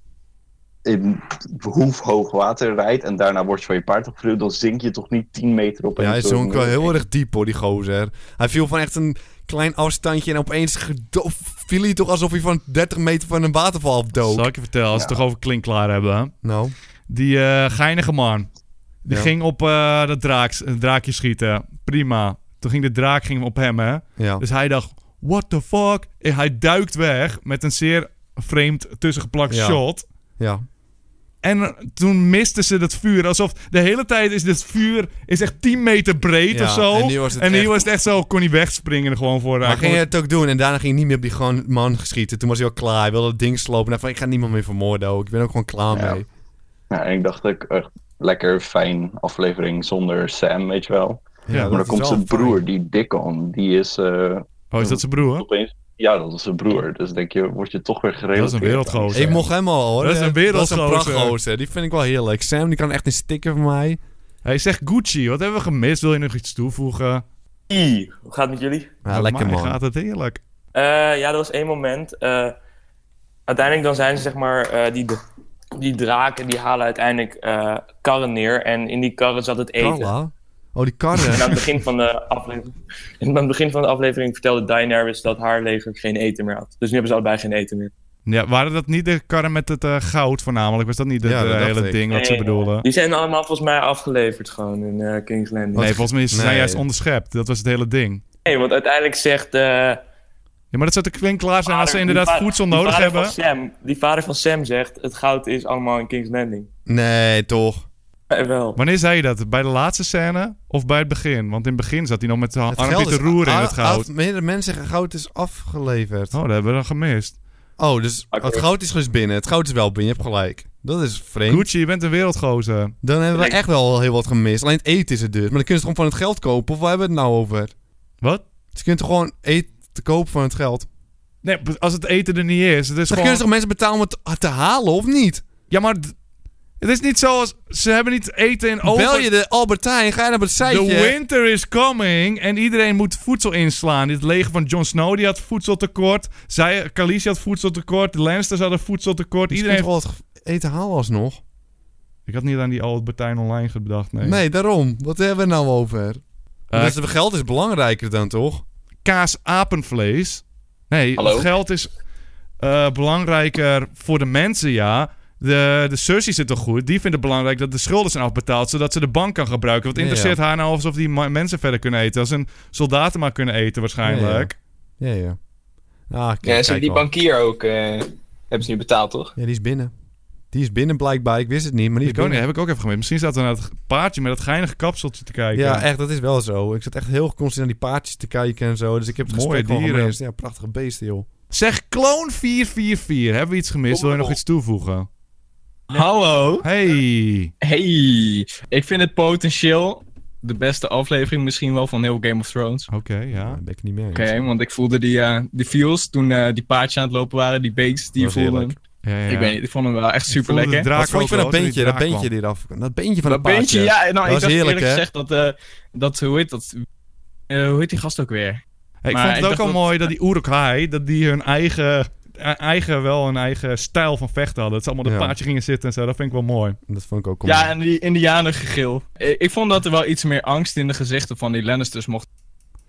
Speaker 7: in hoefhoog water rijdt en daarna word je van je paard afgeduwd, dan zink je toch niet 10 meter op.
Speaker 2: Ja, hij zonk wel heel erg diep hoor, die gozer. Hij viel van echt een klein afstandje en opeens gedo- viel hij toch alsof hij van 30 meter van een waterval afdook.
Speaker 1: Zal ik je vertellen, als we het toch over klinkklaar hebben.
Speaker 2: Nou,
Speaker 1: Die eh geinige man. Die
Speaker 2: Ja.
Speaker 1: ging op eh, dat draak, een draakje schieten. Prima. Toen ging de draak ging op hem, hè.
Speaker 2: ja.
Speaker 1: Dus hij dacht, what the fuck? En hij duikt weg met een zeer vreemd tussengeplakt
Speaker 2: Ja.
Speaker 1: shot.
Speaker 2: ja.
Speaker 1: En toen misten ze dat vuur. Alsof de hele tijd is dit vuur is echt 10 meter breed
Speaker 2: Ja,
Speaker 1: of zo.
Speaker 2: en nu was het echt-
Speaker 1: echt zo, kon hij wegspringen gewoon voor.
Speaker 2: Maar
Speaker 1: Hij
Speaker 2: ging
Speaker 1: kon-
Speaker 2: hij het ook doen en daarna ging hij niet meer op die gewoon man geschieten. Toen was hij al klaar. Hij wilde het ding slopen. Hij van, ik ga niemand meer vermoorden ook. Ik ben ook gewoon klaar
Speaker 7: Ja.
Speaker 2: mee.
Speaker 7: Ja, en ik dacht ik echt lekker fijn aflevering zonder Sam, weet je wel.
Speaker 1: Ja,
Speaker 7: maar
Speaker 2: dat
Speaker 7: dan
Speaker 2: is
Speaker 7: komt
Speaker 2: wel
Speaker 7: zijn
Speaker 2: fijn.
Speaker 7: broer, die Dickon, die is eh,
Speaker 1: Oh, is dat zijn broer?
Speaker 7: opeens... Ja, dat is zijn broer. Dus denk je, word je toch weer gerelateerd.
Speaker 1: Dat is een wereldgozer.
Speaker 2: Ik mocht hem al hoor.
Speaker 1: Dat is een wereldgozer.
Speaker 2: Dat is een prachtgozer. Die vind ik wel heerlijk. Sam, die kan echt een stikken van mij.
Speaker 1: Hij zegt Gucci. Wat hebben we gemist? Wil je nog iets toevoegen?
Speaker 8: I, hoe gaat het met jullie?
Speaker 2: Ja, lekker
Speaker 1: Mij
Speaker 2: man.
Speaker 1: gaat het heerlijk.
Speaker 8: Eh, ja, dat was één moment. Eh, uiteindelijk dan zijn ze zeg maar eh, die, die draken die halen uiteindelijk eh, karren neer en in die karren zat het eten.
Speaker 2: Carla? Oh, die
Speaker 8: En aan
Speaker 2: karren.
Speaker 8: het begin van de aflevering, en aan het begin van de aflevering vertelde Daenerys dat haar leger geen eten meer had. Dus nu hebben ze allebei geen eten meer.
Speaker 1: Ja, waren dat niet de karren met het eh, goud voornamelijk? Was dat niet het
Speaker 2: Ja, dat
Speaker 1: eh,
Speaker 2: dacht
Speaker 1: hele
Speaker 2: ik.
Speaker 1: ding wat ze
Speaker 8: Nee.
Speaker 1: bedoelden?
Speaker 8: Die zijn allemaal volgens mij afgeleverd gewoon in eh, King's Landing.
Speaker 1: Nee, volgens mij is- ze zijn
Speaker 2: Nee.
Speaker 1: juist onderschept. Dat was het hele ding.
Speaker 8: Nee, want uiteindelijk zegt... eh,
Speaker 1: Ja, maar dat zou toch flink klaar zijn als ze
Speaker 8: vader-
Speaker 1: inderdaad
Speaker 8: die va-
Speaker 1: voedsel
Speaker 8: die
Speaker 1: nodig
Speaker 8: vader van
Speaker 1: hebben?
Speaker 8: Sam, die vader van Sam zegt, het goud is allemaal in King's Landing.
Speaker 2: Nee, toch.
Speaker 8: Eh, wel.
Speaker 1: Wanneer zei je dat? Bij de laatste scène of bij het begin? Want in het begin zat hij nog met zijn armpje
Speaker 2: geld
Speaker 1: te
Speaker 2: is
Speaker 1: roeren in
Speaker 2: a-
Speaker 1: het goud.
Speaker 2: af- Meerdere mensen zeggen goud is afgeleverd.
Speaker 1: Oh, dat hebben we dan gemist.
Speaker 2: Oh, dus
Speaker 8: Oké.
Speaker 2: het goud is dus binnen. Het goud is wel binnen, je hebt gelijk. Dat is vreemd.
Speaker 1: Gucci, je bent een wereldgozer.
Speaker 2: Dan hebben we
Speaker 8: Kijk.
Speaker 2: echt wel heel wat gemist. Alleen het eten is het duur. Maar dan kunnen ze het gewoon van het geld kopen. Of waar hebben we het nou over?
Speaker 1: Wat?
Speaker 2: Ze kunnen toch gewoon eten te kopen van het geld? Dan
Speaker 1: Nee, als het eten er niet is, het is gewoon...
Speaker 2: kunnen ze toch mensen betalen om het te- te halen, of niet?
Speaker 1: Ja, maar d- het is niet zoals... Ze hebben niet eten in over...
Speaker 2: Bel je de Albertijn, ga je naar het
Speaker 1: The
Speaker 2: zijtje.
Speaker 1: winter is coming en iedereen moet voedsel inslaan. Dit leger van Jon Snow die had voedseltekort. Zij, Khaleesi had voedseltekort. De Lannisters hadden voedseltekort.
Speaker 2: Iedereen
Speaker 1: Iedereen...
Speaker 2: toch wel het eten halen alsnog?
Speaker 1: Ik had niet aan die Albertijn online gedacht, nee.
Speaker 2: Nee. daarom. Wat hebben we er nou over?
Speaker 1: Eh,
Speaker 2: dus het geld is belangrijker dan, toch?
Speaker 1: kaas apenvlees. Nee,
Speaker 9: Hallo?
Speaker 1: het geld is eh, belangrijker voor de mensen, ja. De, de Cersei zit toch goed? Die vindt het belangrijk dat de schulden zijn afbetaald, zodat ze de bank kan gebruiken. Wat
Speaker 2: Ja,
Speaker 1: interesseert haar nou alsof die ma- mensen verder kunnen eten? Als een soldaten maar kunnen eten waarschijnlijk.
Speaker 2: Ja, ja. Ah, kijk,
Speaker 10: Ja, ze
Speaker 2: kijk
Speaker 10: die
Speaker 2: wel.
Speaker 10: bankier ook eh, hebben ze nu betaald, toch?
Speaker 2: Ja, die is binnen. Die is binnen blijkbaar. Ik wist het niet, maar die is
Speaker 1: Ik ook niet,
Speaker 2: binnen.
Speaker 1: heb ik ook even gemist. Misschien staat er naar het paardje met dat geinige kapseltje te kijken.
Speaker 2: Ja, echt, dat is wel zo. Ik zat echt heel constant naar die paardjes te kijken en zo. Dus ik heb het
Speaker 1: Mooie
Speaker 2: gesprek wel
Speaker 1: dieren.
Speaker 2: gemist. Ja, prachtige beesten, joh.
Speaker 1: Zeg kloon 444. Hebben we iets gemist? Wil je nog iets toevoegen?
Speaker 10: Hallo.
Speaker 1: Hey.
Speaker 10: Hey. Ik vind het potentieel de beste aflevering misschien wel van heel Game of Thrones.
Speaker 1: Oké,
Speaker 2: Ja,
Speaker 1: ja.
Speaker 2: daar ben ik het niet meer eens.
Speaker 10: Oké, want ik voelde die, eh die feels toen eh, die paardjes aan het lopen waren, die beeks, die
Speaker 2: Dat was
Speaker 10: voelden.
Speaker 2: heerlijk.
Speaker 1: ja, ja.
Speaker 10: Ik weet niet, ik vond hem wel echt
Speaker 1: Ik voelde
Speaker 10: super
Speaker 1: de
Speaker 10: lekker.
Speaker 1: draak
Speaker 2: Wat vond je
Speaker 1: ook
Speaker 2: van dat
Speaker 1: wel, toen die
Speaker 2: beentje? Dat
Speaker 1: draak kwam.
Speaker 2: beentje die eraf... Dat beentje van
Speaker 10: Dat
Speaker 2: dat
Speaker 10: beentje,
Speaker 2: paardje.
Speaker 10: ja. Nou, ik
Speaker 2: was
Speaker 10: dacht
Speaker 2: heerlijk,
Speaker 10: eerlijk
Speaker 2: hè?
Speaker 10: gezegd dat, eh, dat, hoe heet dat? Eh, hoe heet die gast ook weer?
Speaker 1: Hey, ik
Speaker 10: Maar
Speaker 1: vond het
Speaker 10: ik
Speaker 1: ook al
Speaker 10: dacht dat-
Speaker 1: mooi dat die Uruk-hai, dat die hun eigen, e- eigen, wel een eigen stijl van vechten hadden. Dat ze allemaal op
Speaker 2: Ja.
Speaker 1: een paardje gingen zitten en zo. Dat vind ik wel mooi.
Speaker 2: Dat vond ik ook cool.
Speaker 10: Ja, en die indianengegil. Ik, ik vond dat er wel iets meer angst in de gezichten van die Lannisters mocht.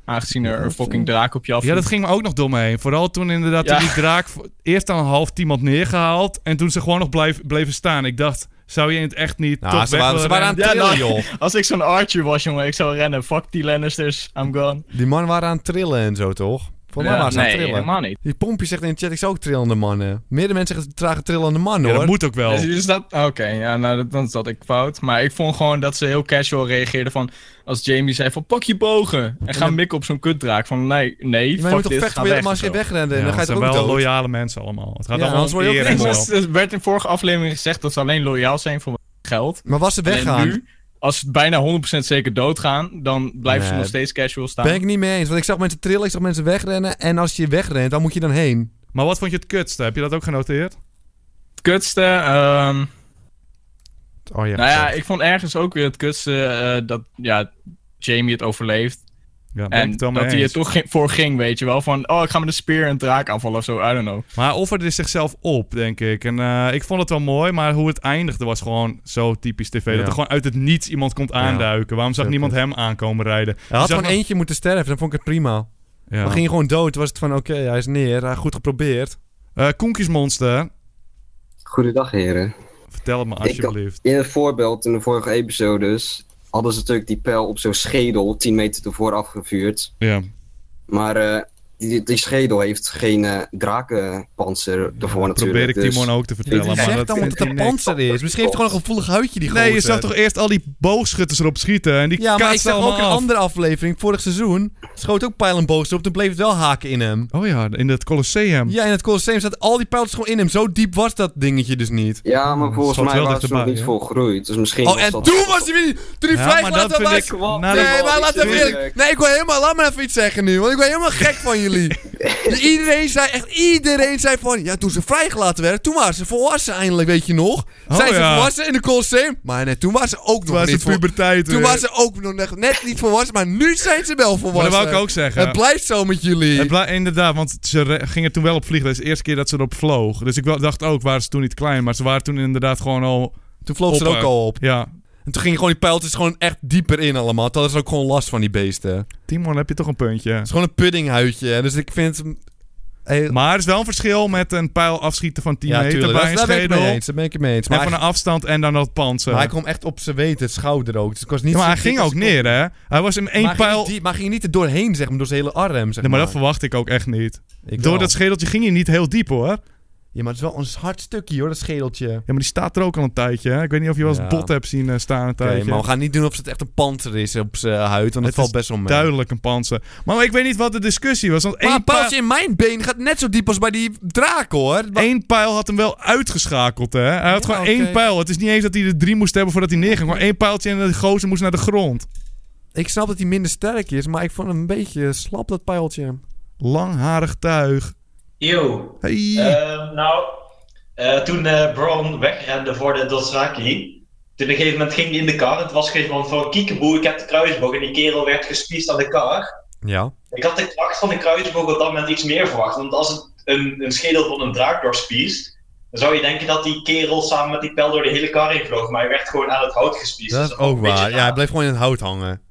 Speaker 10: Aangezien er een fucking draak op je af.
Speaker 1: Ja, dat ging me ook nog door me heen. Vooral toen inderdaad
Speaker 10: Ja.
Speaker 1: toen die draak vo- eerst aan half iemand neergehaald. En toen ze gewoon nog blijf, bleven staan. Ik dacht, zou je in het echt niet
Speaker 2: Nou,
Speaker 1: toch
Speaker 2: ze,
Speaker 1: weg
Speaker 2: waren, ze
Speaker 1: willen
Speaker 2: waren aan het
Speaker 10: Ja,
Speaker 2: trillen,
Speaker 10: nou-
Speaker 2: joh.
Speaker 10: Als ik zo'n Archer was, jongen, ik zou rennen. Fuck die Lannisters, I'm gone.
Speaker 2: Die mannen waren aan het trillen en zo, toch? Van mij waren ze aan
Speaker 10: nee,
Speaker 2: het trillen.
Speaker 10: helemaal niet.
Speaker 2: Die pompje zegt in de chat, ik zou ook trillende mannen. Meerdere mensen zeggen, dragen trillende mannen,
Speaker 1: Ja,
Speaker 2: hoor.
Speaker 1: dat moet ook wel.
Speaker 10: Dus is dat... Oké, ja, nou, dat, dan zat ik fout. Maar ik vond gewoon dat ze heel casual reageerden van... Als Jamie zei van, pak je bogen. En ga mikken op zo'n kutdraak. Van, nee, nee,
Speaker 2: maar je
Speaker 10: fuck
Speaker 2: moet toch
Speaker 10: dit,
Speaker 2: vechten,
Speaker 10: ga
Speaker 2: maar
Speaker 10: weg.
Speaker 2: je- maar als je
Speaker 10: of zo.
Speaker 2: wegrennen,
Speaker 1: Ja,
Speaker 2: dan ga je
Speaker 1: het zijn
Speaker 2: toch ook
Speaker 1: wel
Speaker 2: dood.
Speaker 1: loyale mensen allemaal. Het gaat
Speaker 2: Ja,
Speaker 1: allemaal
Speaker 2: anders
Speaker 1: om
Speaker 2: word je ook
Speaker 1: eer en
Speaker 10: Het
Speaker 2: niks.
Speaker 1: zo.
Speaker 10: was- Het werd in vorige aflevering gezegd dat ze alleen loyaal zijn voor geld.
Speaker 2: Maar was ze weggaan,
Speaker 10: En nu, als ze bijna 100% zeker doodgaan, dan blijven ze
Speaker 2: Nee.
Speaker 10: nog steeds casual staan.
Speaker 2: ben ik niet mee eens. Want ik zag mensen trillen, ik zag mensen wegrennen. En als je wegrent, dan moet je dan heen.
Speaker 1: Maar wat vond je het kutste? Heb je dat ook genoteerd?
Speaker 10: Het kutste, ehm,
Speaker 2: Oh ja.
Speaker 10: nou ja, ik vond ergens ook weer het kutste eh, dat ja, Jamie het overleeft.
Speaker 1: Ja, ben ik
Speaker 10: En
Speaker 1: het wel
Speaker 10: dat
Speaker 1: mee
Speaker 10: hij er
Speaker 1: eens.
Speaker 10: toch ge- voor ging, weet je wel. Van, oh, ik ga met een speer een draak aanvallen of zo, I don't know.
Speaker 1: Maar hij offerde zichzelf op, denk ik. En eh, ik vond het wel mooi, maar hoe het eindigde was gewoon zo typisch tv.
Speaker 2: Ja.
Speaker 1: Dat er gewoon uit het niets iemand komt aanduiken. Waarom zag
Speaker 2: Zo
Speaker 1: niemand
Speaker 2: kut.
Speaker 1: hem aankomen rijden?
Speaker 2: Hij had
Speaker 1: Je zag
Speaker 2: gewoon
Speaker 1: nog-
Speaker 2: eentje moeten sterven, dan vond ik het prima.
Speaker 1: Ja.
Speaker 2: Dan ging je gewoon dood, was het van, oké, hij is neer, hij goed geprobeerd.
Speaker 1: Eh, Koenkiesmonster,
Speaker 11: Goedendag heren.
Speaker 1: vertel het me
Speaker 11: Ik kan-
Speaker 1: alsjeblieft.
Speaker 11: In het voorbeeld in de vorige episodes hadden ze natuurlijk die pijl op zo'n schedel 10 meter tevoren afgevuurd.
Speaker 1: Ja.
Speaker 11: Maar eh, die, die schedel heeft geen eh, drakenpanzer ervoor natuurlijk.
Speaker 1: Probeer ik
Speaker 11: dus-
Speaker 1: Timon ook te vertellen.
Speaker 2: Ik
Speaker 1: maar
Speaker 2: zeg
Speaker 1: dat
Speaker 2: dan, want
Speaker 1: vindt
Speaker 2: het
Speaker 1: hij
Speaker 2: een
Speaker 1: niks.
Speaker 2: panzer is. Misschien heeft hij gewoon een gevoelig huidje, die
Speaker 1: Nee, je
Speaker 2: gozer.
Speaker 1: zag toch eerst al die boogschutters erop schieten. En die
Speaker 2: Ja, maar ik
Speaker 1: kaatsten
Speaker 2: zag ook
Speaker 1: allemaal
Speaker 2: een
Speaker 1: af.
Speaker 2: andere aflevering, vorig seizoen. Schoot ook pijlenboogst op, toen bleef het wel haken in hem.
Speaker 1: Oh ja, in het Colosseum.
Speaker 2: Ja, in het Colosseum zaten al die pijltjes gewoon in hem. Zo diep was dat dingetje dus niet.
Speaker 11: Ja, maar volgens
Speaker 1: Schoot
Speaker 11: mij
Speaker 1: Hmm, wel
Speaker 11: was ze nog
Speaker 1: dichterbij,
Speaker 11: niet
Speaker 1: hè?
Speaker 11: volgroeid. Dus misschien
Speaker 2: Oh,
Speaker 11: was
Speaker 2: en
Speaker 11: dat...
Speaker 2: toen was hij weer niet- Toen hij
Speaker 1: Ja, maar dat
Speaker 2: vrijgelaten
Speaker 1: vind
Speaker 2: was...
Speaker 1: ik... na de-
Speaker 2: Nee, maar laat
Speaker 11: ik
Speaker 2: even
Speaker 11: zeg-
Speaker 2: eerlijk... Nee, ik wil helemaal... Laat me even iets zeggen nu, want ik ben helemaal gek van jullie. Iedereen zei, echt iedereen zei van... Ja, toen ze vrijgelaten werden, toen waren ze volwassen eindelijk, weet je nog?
Speaker 1: Oh,
Speaker 2: Zijn ze
Speaker 1: ja.
Speaker 2: volwassen in de Colosseum? Maar nee, toen waren ze ook
Speaker 1: Toen
Speaker 2: nog
Speaker 1: was
Speaker 2: niet
Speaker 1: het
Speaker 2: vol-
Speaker 1: puberteit.
Speaker 2: Toen
Speaker 1: weer.
Speaker 2: waren ze ook nog net- net niet volwassen, maar nu zijn ze wel volwassen.
Speaker 1: Maar dat wou ik ook zeggen.
Speaker 2: eh, Het blijft zo met jullie.
Speaker 1: Het bla- inderdaad, want ze re- gingen toen wel op vliegen. Dat is de eerste keer dat ze erop vloog. Dus ik wel- dacht ook, waren ze toen niet klein. Maar ze waren toen inderdaad gewoon al...
Speaker 2: Toen vloog ze er
Speaker 1: Hoppa.
Speaker 2: ook al op.
Speaker 1: Ja,
Speaker 2: En toen gingen gewoon die pijltjes gewoon echt dieper in allemaal. Dat is ook gewoon last van die beesten.
Speaker 1: Timon, heb je toch een puntje?
Speaker 2: Het is gewoon een puddinghuidje. hè. Dus ik vind...
Speaker 1: Maar er is wel een verschil met een pijl afschieten van 10
Speaker 2: Ja,
Speaker 1: meter bij
Speaker 2: tuurlijk. Daar-
Speaker 1: een eh,
Speaker 2: daar ben ik
Speaker 1: schedel.
Speaker 2: mee eens, daar ben ik mee eens.
Speaker 1: En
Speaker 2: Maar
Speaker 1: van een
Speaker 2: hij-
Speaker 1: afstand en dan dat panzer.
Speaker 2: Maar hij kwam echt op zijn weten, schouder ook. Dus ik was niet
Speaker 1: Ja, maar
Speaker 2: zo
Speaker 1: hij ging
Speaker 2: dik als
Speaker 1: ook
Speaker 2: ik
Speaker 1: neer, hè? Hij was in één
Speaker 2: maar
Speaker 1: pijl-
Speaker 2: Ging niet diep- maar ging niet er doorheen, zeg maar, door zijn hele arm. Zeg
Speaker 1: Nee, maar
Speaker 2: maar
Speaker 1: dat verwacht ik ook echt niet. Door
Speaker 2: wel.
Speaker 1: dat schedeltje ging hij niet heel diep, hoor.
Speaker 2: Ja, maar het is wel een hard stukje hoor, dat schedeltje.
Speaker 1: Ja, maar die staat er ook al een tijdje, hè? Ik weet niet of je wel eens
Speaker 2: Ja.
Speaker 1: bot hebt zien eh, staan een
Speaker 2: Oké,
Speaker 1: tijdje.
Speaker 2: maar we gaan niet doen of het echt een panter is op zijn huid, want het, valt
Speaker 1: is
Speaker 2: best wel mee.
Speaker 1: duidelijk een panzer. Maar ik weet niet wat de discussie was. Want
Speaker 2: Maar
Speaker 1: één
Speaker 2: een pijltje
Speaker 1: pijl-
Speaker 2: in mijn been gaat net zo diep als bij die draak, hoor.
Speaker 1: Eén pijl had hem wel uitgeschakeld, hè? Hij had
Speaker 2: Ja,
Speaker 1: gewoon
Speaker 2: oké.
Speaker 1: één pijl. Het is niet eens dat hij er drie moest hebben voordat hij neerging. Maar één pijltje en de gozer moest naar de grond.
Speaker 2: Ik snap dat hij minder sterk is, maar ik vond hem een beetje slap, dat pijltje.
Speaker 1: Langharig tuig.
Speaker 12: Yo.
Speaker 1: Hey.
Speaker 12: Ehm, nou, eh, toen eh, Brown wegrende voor de Dothraki, toen op een gegeven moment ging hij in de kar. Het was gewoon van kiekeboe, ik heb de kruisboog. En die kerel werd gespiesd aan de kar.
Speaker 2: Ja.
Speaker 12: Ik had de kracht van de kruisboog op dat moment iets meer verwacht. Want als het een, een schedel van een draak doorspiest, dan zou je denken dat die kerel samen met die pijl door de hele kar heen vloog. Maar hij werd gewoon aan het hout gespiesd.
Speaker 2: Dat is dus ook waar. Ja, hij blijft gewoon in het hout hangen.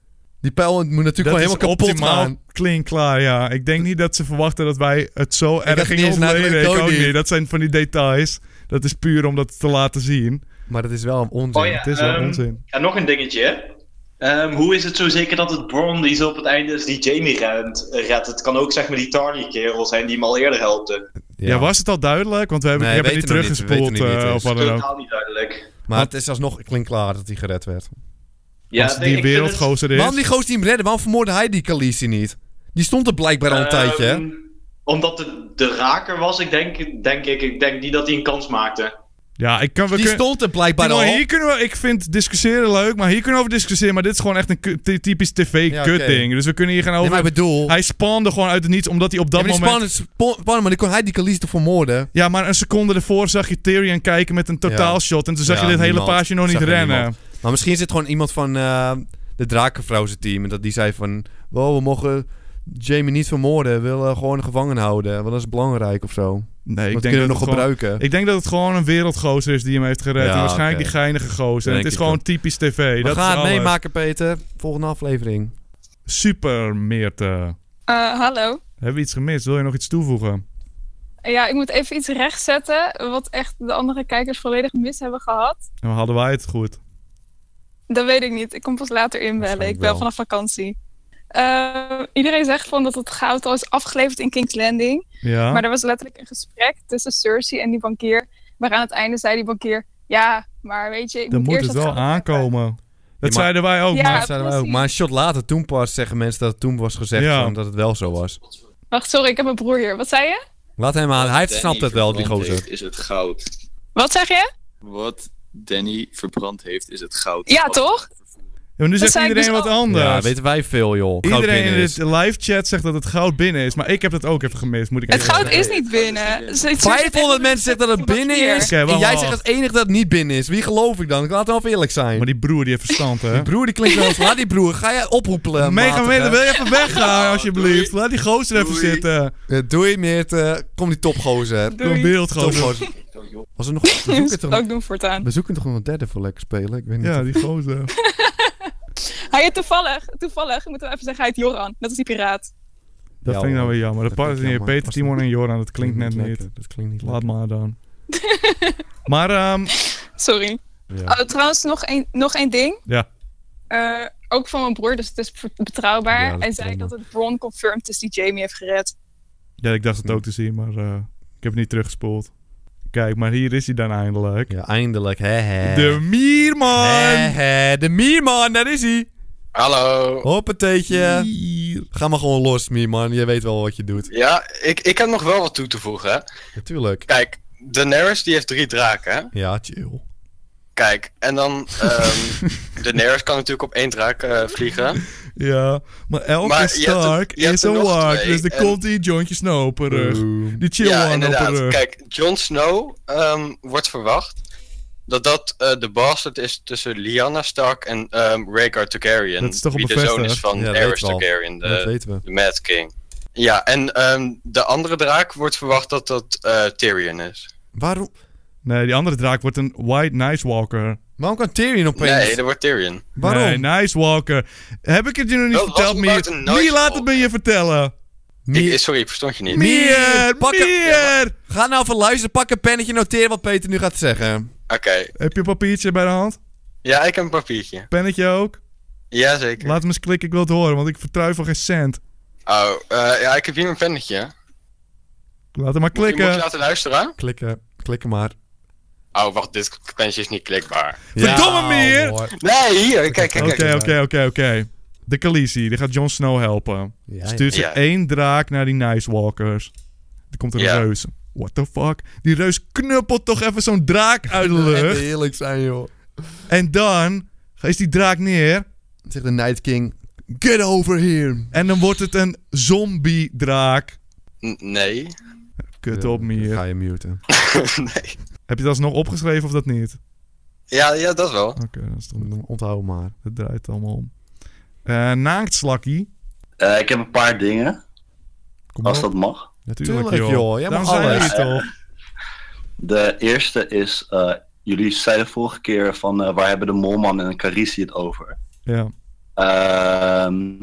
Speaker 2: Die pijl moet natuurlijk
Speaker 1: Dat
Speaker 2: gewoon
Speaker 1: is
Speaker 2: helemaal kapot
Speaker 1: optimaal
Speaker 2: gaan.
Speaker 1: klinkklaar, ja. Ik denk niet dat ze verwachten dat wij het zo erg
Speaker 2: dacht
Speaker 1: gingen
Speaker 2: niet eens na het
Speaker 1: overleden. Ik ook
Speaker 2: Leukonie.
Speaker 1: niet. Dat zijn van die details. Dat is puur om dat te laten zien.
Speaker 2: Maar dat is wel onzin.
Speaker 12: Oh ja, ehm, En nog een dingetje. hè. Ehm, hoe is het zo zeker dat het Bron die zo op het einde is die Jamie redt? redt? Het kan ook zeg maar die Tarly-kerel zijn die hem al eerder helpte.
Speaker 1: Ja. was het al duidelijk? Want we hebben,
Speaker 2: Nee,
Speaker 1: ik heb het niet
Speaker 2: weten we niet,
Speaker 1: teruggespoeld
Speaker 2: weten we niet,
Speaker 1: eh,
Speaker 2: dus.
Speaker 1: of wat dan ook.
Speaker 12: Totaal niet duidelijk.
Speaker 2: Maar het is alsnog klinkklaar dat hij gered werd.
Speaker 12: Ja,
Speaker 2: Als
Speaker 12: ik denk-
Speaker 2: die
Speaker 12: ik vind
Speaker 2: wereldgozer
Speaker 12: het-
Speaker 2: is. Waarom die gozer die hem redde? Waarom vermoordde hij die Khaleesi niet? Die stond er blijkbaar al een
Speaker 12: Ehm,
Speaker 2: tijdje, hè?
Speaker 12: Omdat het de raker was, ik denk, denk ik, ik denk niet dat hij een kans maakte.
Speaker 1: Ja, ik kan... We die
Speaker 2: stond er blijkbaar
Speaker 1: Timon,
Speaker 2: al.
Speaker 1: Hier kunnen we, ik vind discussiëren leuk, maar hier kunnen we over discussiëren. Maar dit is gewoon echt een ku- ty- typisch tv-kut
Speaker 2: oké.
Speaker 1: ding. Dus we kunnen hier gaan over...
Speaker 2: Nee, maar ik bedoel...
Speaker 1: Hij spawnde gewoon uit het niets, omdat hij op dat
Speaker 2: Ja, maar die
Speaker 1: moment...
Speaker 2: Spannen- spo- spannen, maar die kon hij die Khaleesi te vermoorden.
Speaker 1: Ja, maar een seconde ervoor zag je Tyrion kijken met een totaalshot. En toen zag
Speaker 2: Ja,
Speaker 1: je dit hele
Speaker 2: niemand.
Speaker 1: paasje nog niet
Speaker 2: Zag je
Speaker 1: rennen.
Speaker 2: niemand. Maar misschien zit gewoon iemand van eh, de Drakenvrouw zijn team. En dat die zei van... Wow, we mogen Jamie niet vermoorden. We willen gewoon gevangen houden. Want dat is belangrijk of zo.
Speaker 1: Nee,
Speaker 2: dat
Speaker 1: ik denk
Speaker 2: kunnen we
Speaker 1: dat
Speaker 2: nog
Speaker 1: het gewoon-
Speaker 2: gebruiken.
Speaker 1: ik denk dat het gewoon een wereldgozer is die hem heeft gered.
Speaker 2: Ja,
Speaker 1: en waarschijnlijk
Speaker 2: oké.
Speaker 1: die geinige gozer. En
Speaker 2: Denk
Speaker 1: het is
Speaker 2: ik
Speaker 1: gewoon
Speaker 2: ook.
Speaker 1: typisch tv.
Speaker 2: we
Speaker 1: dat
Speaker 2: gaan
Speaker 1: is
Speaker 2: het
Speaker 1: alles.
Speaker 2: meemaken, Peter. Volgende aflevering.
Speaker 1: Super, Meerte.
Speaker 13: Eh, hallo.
Speaker 1: Hebben we iets gemist? Wil je nog iets toevoegen?
Speaker 13: Ja, ik moet even iets rechtzetten. Wat echt de andere kijkers volledig mis hebben gehad.
Speaker 1: En Nou, hadden wij het goed?
Speaker 13: Dat weet ik niet. Ik kom pas later inbellen. Ik bel
Speaker 1: wel.
Speaker 13: vanaf vakantie. Eh, iedereen zegt van dat het goud al is afgeleverd in King's Landing.
Speaker 1: Ja.
Speaker 13: Maar er was letterlijk een gesprek tussen Cersei en die bankier. Maar aan het einde zei die bankier... Ja, maar weet je, ik
Speaker 1: Dan
Speaker 13: moet
Speaker 1: moet
Speaker 13: eerst
Speaker 1: het
Speaker 13: dat
Speaker 1: wel
Speaker 13: goud-
Speaker 1: aankomen. Dat
Speaker 2: Ja, maar-
Speaker 1: zeiden wij ook.
Speaker 13: Ja,
Speaker 1: maar-
Speaker 2: Dat zeiden wij ook. Maar een shot later, toen pas zeggen mensen dat het toen was gezegd.
Speaker 1: Ja.
Speaker 2: Omdat het wel zo was.
Speaker 13: Wacht, sorry, ik heb mijn broer hier. Wat zei je?
Speaker 2: Laat hem aan. Hij
Speaker 7: Danny
Speaker 2: snapt het wel, die
Speaker 7: verbrand
Speaker 2: gozer.
Speaker 7: heeft, is het goud.
Speaker 13: Wat zeg je?
Speaker 7: Wat Danny verbrand heeft, is het goud.
Speaker 13: Ja, toch?
Speaker 1: Ja, maar nu
Speaker 13: Dat
Speaker 1: zegt
Speaker 13: zei ik
Speaker 1: iedereen
Speaker 13: dus
Speaker 1: wat
Speaker 13: ook.
Speaker 1: anders.
Speaker 2: Ja, weten wij veel, joh. Goud
Speaker 1: Iedereen in
Speaker 2: binnen is.
Speaker 1: de live chat zegt dat het goud binnen is. Maar ik heb dat ook even gemist, moet ik
Speaker 13: Het
Speaker 1: even
Speaker 13: goud
Speaker 1: zeggen.
Speaker 13: is niet binnen. Ze- ze-
Speaker 2: 500 mensen zeggen dat het binnen
Speaker 13: hier.
Speaker 2: is.
Speaker 1: Oké, wacht,
Speaker 2: en jij
Speaker 1: wacht.
Speaker 2: zegt als enige dat het niet binnen is. Wie geloof ik dan? Laten we wel eerlijk zijn. Maar
Speaker 1: die broer die heeft verstand, hè?
Speaker 2: Die broer die klinkt wel eens. Laat die broer. Ga jij ophoepelen.
Speaker 1: Mega
Speaker 2: matige.
Speaker 1: Meerte, wil je even weggaan alsjeblieft? Laat die gozer even zitten.
Speaker 2: Ja, doei Meerte. Kom die topgozer.
Speaker 1: Doei. Kom wereldgozer.
Speaker 2: Topgozer. Was er nog... We zoeken, toch,
Speaker 13: ook doen voortaan.
Speaker 2: we zoeken toch nog een derde voor lekker spelen? Ik weet niet
Speaker 1: Ja,
Speaker 2: of-
Speaker 1: die gozer.
Speaker 13: Hij heet toevallig, toevallig, ik moet wel even zeggen, hij heet Joran. Dat is die piraat.
Speaker 1: Dat
Speaker 2: Ja,
Speaker 1: vind ik nou
Speaker 2: hoor.
Speaker 1: weer jammer. Dat,
Speaker 2: Dat
Speaker 1: past
Speaker 2: vind ik
Speaker 1: niet.
Speaker 2: jammer.
Speaker 1: Peter,
Speaker 2: Past
Speaker 1: Timon
Speaker 2: niet.
Speaker 1: en Joran, dat klinkt
Speaker 2: Klinkt
Speaker 1: net
Speaker 2: niet
Speaker 1: niet.
Speaker 2: lekker. Dat klinkt niet
Speaker 1: Laat maar dan. maar, ehm
Speaker 13: Sorry.
Speaker 1: Ja.
Speaker 13: Oh, trouwens, nog één nog één ding.
Speaker 1: ja.
Speaker 13: Eh, ook van mijn broer, dus het is ver- betrouwbaar.
Speaker 1: Ja, dat
Speaker 13: hij
Speaker 1: is
Speaker 13: zei
Speaker 1: prima.
Speaker 13: dat het Bron confirmed is die Jamie heeft gered.
Speaker 1: ja, ik dacht het ook te zien, maar eh, ik heb het niet teruggespoeld. Kijk, maar hier is hij dan eindelijk.
Speaker 2: Ja, eindelijk. Hè, hè.
Speaker 1: De Mierman!
Speaker 2: Hè, hè, Eh. de Mierman, daar is hij.
Speaker 14: Hallo.
Speaker 2: Hoppateetje. Ga maar gewoon los, Mierman. Je weet wel wat je doet.
Speaker 14: Ja, ik, ik heb nog wel wat toe te voegen. hè.
Speaker 2: Natuurlijk.
Speaker 14: Kijk, Daenerys die heeft drie draken. hè.
Speaker 2: Ja, chill.
Speaker 14: Kijk, en dan... ehm Daenerys kan natuurlijk op één draak eh, vliegen.
Speaker 1: Ja, maar elke
Speaker 14: Maar je hebt er-
Speaker 1: Stark
Speaker 14: je hebt
Speaker 1: is
Speaker 14: er
Speaker 1: een
Speaker 14: nog
Speaker 1: wark.
Speaker 14: twee
Speaker 1: Dus dan
Speaker 14: en-
Speaker 1: komt die Jontje Snow op haar rug. Die chill
Speaker 14: ja,
Speaker 1: one op haar rug.
Speaker 14: Kijk, Jon Snow ehm, wordt verwacht dat dat eh, de bastard is tussen Lyanna Stark en ehm Rhaegar Targaryen.
Speaker 1: Dat is toch al
Speaker 14: die de
Speaker 1: bevestigd?
Speaker 14: zoon is van
Speaker 1: Ja, dat
Speaker 14: Daenerys
Speaker 1: weten we al.
Speaker 14: Targaryen, de,
Speaker 1: Dat weten we.
Speaker 14: de Mad King. Ja, en ehm, de andere draak wordt verwacht dat dat eh, Tyrion is.
Speaker 2: Waarom?
Speaker 1: Nee, die andere draak wordt een White Nice Walker.
Speaker 2: Waarom kan Tyrion opeens...
Speaker 14: Nee, dat wordt Tyrion.
Speaker 1: Nee, Nice Walker. Heb ik het je nog niet
Speaker 14: Wel,
Speaker 1: verteld,
Speaker 14: was
Speaker 1: Mier?
Speaker 14: about een Nice
Speaker 1: Mier, laat het me je vertellen.
Speaker 14: Ik, sorry, ik verstond je niet.
Speaker 2: Meer! Pak meer! Ga nou even luisteren, pak een pennetje, noteer wat Peter nu gaat zeggen.
Speaker 14: Oké.
Speaker 1: Heb je een papiertje bij de hand?
Speaker 14: Ja, ik heb een papiertje.
Speaker 1: Pennetje ook?
Speaker 14: Jazeker.
Speaker 1: Laat me eens klikken, ik wil het horen, want ik vertrouw van geen cent.
Speaker 14: Oh, eh, ja, ik heb hier mijn pennetje.
Speaker 1: Laat hem maar
Speaker 14: Moet je- Moet je
Speaker 1: klikken.
Speaker 14: laten luisteren?
Speaker 13: Klikken, klikken maar.
Speaker 14: Oh, wacht, dit pennetje is niet klikbaar.
Speaker 1: Verdomme meer!
Speaker 14: Nee, hier, kijk, kijk, kijk.
Speaker 1: Oké, oké, oké, oké. De Khaleesi, die gaat Jon Snow helpen.
Speaker 14: ja.
Speaker 1: Stuurt ze
Speaker 14: Ja.
Speaker 1: één draak naar die Nice Walkers. Er komt een
Speaker 13: Ja.
Speaker 1: reus. What the fuck? Die reus knuppelt toch even zo'n draak uit de lucht.
Speaker 13: Heerlijk zijn, joh.
Speaker 1: En dan is die draak neer.
Speaker 13: Zegt de Night King, get over here.
Speaker 1: En dan wordt het een zombie-draak.
Speaker 14: N- Nee.
Speaker 1: Kut op, Mier. Ga
Speaker 13: je muten.
Speaker 14: nee.
Speaker 1: Heb je dat nog opgeschreven of dat niet?
Speaker 14: Ja, ja, dat wel.
Speaker 1: Oké, dat is toch...
Speaker 13: Onthoud maar.
Speaker 1: Het draait allemaal om. Eh naaktslakkie.
Speaker 15: Eh, ik heb een paar dingen.
Speaker 1: Kom
Speaker 15: als
Speaker 1: op.
Speaker 15: dat mag.
Speaker 1: Natuurlijk, Tuurlijk, joh. joh. Jij
Speaker 15: Ja,
Speaker 1: mag alles. toch?
Speaker 15: De eerste is, eh, jullie zeiden vorige keer van eh, waar hebben de Molman en Carisi het over?
Speaker 1: Ja.
Speaker 15: Ehm,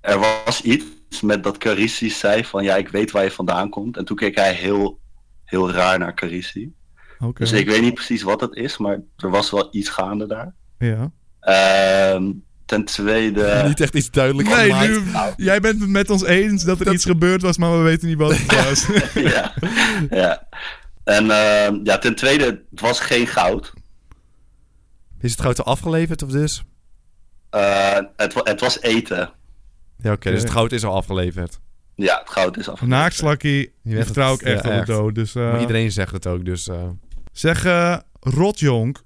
Speaker 15: er was iets met dat Carisi zei van ja, ik weet waar je vandaan komt. En toen keek hij heel, heel raar naar Carisi.
Speaker 1: Oké.
Speaker 15: Dus ik weet niet precies wat dat is, maar er was wel iets gaande daar.
Speaker 1: Ja.
Speaker 15: Ehm, ten tweede...
Speaker 13: Niet echt iets duidelijk
Speaker 1: Nee,
Speaker 13: gemaakt.
Speaker 1: nu, jij bent het met ons eens Nou. dat er iets gebeurd was, maar we weten niet wat het was.
Speaker 15: ja. ja. En ehm, ja, ten tweede, het was geen goud.
Speaker 13: Is het goud al afgeleverd of dus?
Speaker 15: Eh, het, wa- het was eten.
Speaker 13: Ja, oké, dus het goud is al afgeleverd.
Speaker 15: Ja, het goud is af.
Speaker 1: Nou, Naaktslakkie, die
Speaker 13: werd
Speaker 1: vertrouw ik
Speaker 13: het-
Speaker 1: echt
Speaker 13: ja,
Speaker 1: op de dood. Dus, eh,
Speaker 13: Maar iedereen zegt het ook, dus... eh,
Speaker 1: Zeg, eh Rotjonk.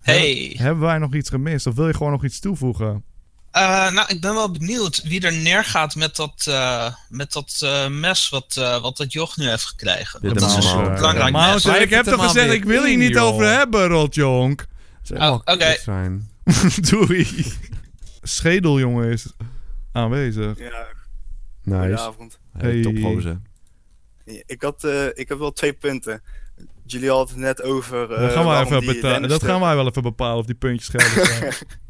Speaker 16: Hey.
Speaker 1: Hebben wij nog iets gemist? Of wil je gewoon nog iets toevoegen?
Speaker 16: Eh, nou, ik ben wel benieuwd wie er neergaat met dat, eh, met dat eh, mes wat, eh, wat dat joch nu heeft gekregen.
Speaker 1: Dit eh,
Speaker 16: dat
Speaker 1: is
Speaker 16: is
Speaker 1: maar-
Speaker 16: een belangrijk
Speaker 1: Maar
Speaker 16: mes.
Speaker 1: ik heb toch gezegd, ik wil hier niet over hebben, Rotjonk.
Speaker 16: Oh, oké.
Speaker 1: Doei. Schedeljongen is aanwezig.
Speaker 17: Ja, Goedenavond.
Speaker 1: Hey.
Speaker 17: Ik, had, eh, ik heb wel twee punten. Jullie hadden het net over. eh,
Speaker 1: Dat gaan, wij
Speaker 17: waarom
Speaker 1: even
Speaker 17: die
Speaker 1: beta- dat
Speaker 17: Lannister-
Speaker 1: gaan wij wel even bepalen of die puntjes geldig zijn.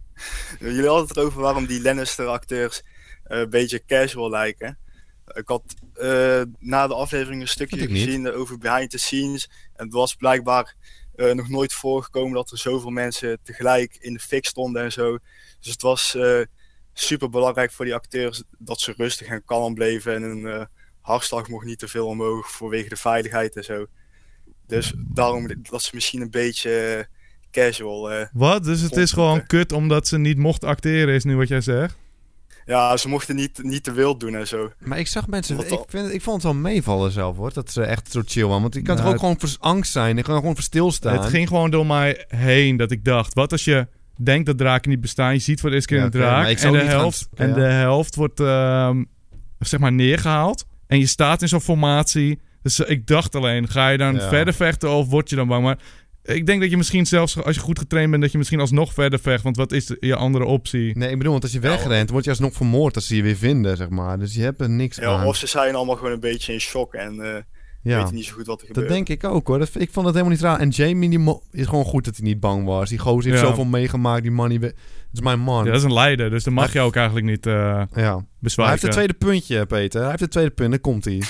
Speaker 17: Jullie hadden het erover waarom die Lannister-acteurs eh, een beetje casual lijken. Ik had eh, na de aflevering een stukje
Speaker 13: Dat ik niet.
Speaker 17: gezien eh, over behind the scenes. En het was blijkbaar eh, nog nooit voorgekomen dat er zoveel mensen tegelijk in de fik stonden en zo. Dus het was super belangrijk voor die acteurs dat ze rustig en kalm bleven. En hun eh, hartslag mocht niet te veel omhoog vanwege de veiligheid en zo. Dus daarom dat ze misschien een beetje eh, casual. eh,
Speaker 1: Wat? Dus het
Speaker 17: vonden.
Speaker 1: is gewoon kut omdat ze niet mocht acteren, is nu wat jij zegt?
Speaker 17: Ja, ze mochten niet, niet te wild doen en zo.
Speaker 13: Maar ik zag mensen.
Speaker 17: Wat
Speaker 13: Ik, vind, ik vond het wel meevallen zelf hoor. Dat ze echt zo chill waren. Want ik kan
Speaker 1: Nou,
Speaker 13: toch ook
Speaker 1: het-
Speaker 13: gewoon voor angst zijn. Ik kan gewoon voor stilstaan.
Speaker 1: Het ging gewoon door mij heen dat ik dacht: wat als je denkt dat draken niet bestaan? Je ziet voor de eerste keer
Speaker 13: Ja,
Speaker 1: een
Speaker 13: oké, maar
Speaker 1: draak
Speaker 13: ik
Speaker 1: en
Speaker 13: zou
Speaker 1: de
Speaker 13: niet gaan
Speaker 1: helft,
Speaker 13: s-
Speaker 1: en
Speaker 13: ja.
Speaker 1: de helft wordt ehm, zeg maar neergehaald. En je staat in zo'n formatie. Dus eh, ik dacht alleen: ga je dan
Speaker 13: Ja.
Speaker 1: verder vechten of word je dan bang? Maar ik denk dat je misschien zelfs als je goed getraind bent, dat je misschien alsnog verder vecht. Want wat is je andere optie?
Speaker 13: Nee, ik bedoel, want als je wegrent, word je alsnog vermoord als ze je weer vinden, zeg maar. Dus je hebt er niks
Speaker 17: Ja,
Speaker 13: aan.
Speaker 17: of ze zijn allemaal gewoon een beetje in shock en eh,
Speaker 13: Ja.
Speaker 17: weten niet zo goed wat er
Speaker 13: Dat
Speaker 17: gebeurt.
Speaker 13: denk ik ook hoor. Dat, ik vond dat helemaal niet raar. En Jamie die mo- is gewoon goed dat hij niet bang was. Die gozer heeft
Speaker 1: Ja.
Speaker 13: zoveel meegemaakt. Die man, die we- het is mijn man.
Speaker 1: Ja, dat is een leider, dus dan mag
Speaker 13: Maar-
Speaker 1: je ook eigenlijk niet eh
Speaker 13: ja. Maar
Speaker 1: bezwijken.
Speaker 13: Hij heeft het tweede puntje, Peter. Hij heeft het tweede punt. Daar komt hij.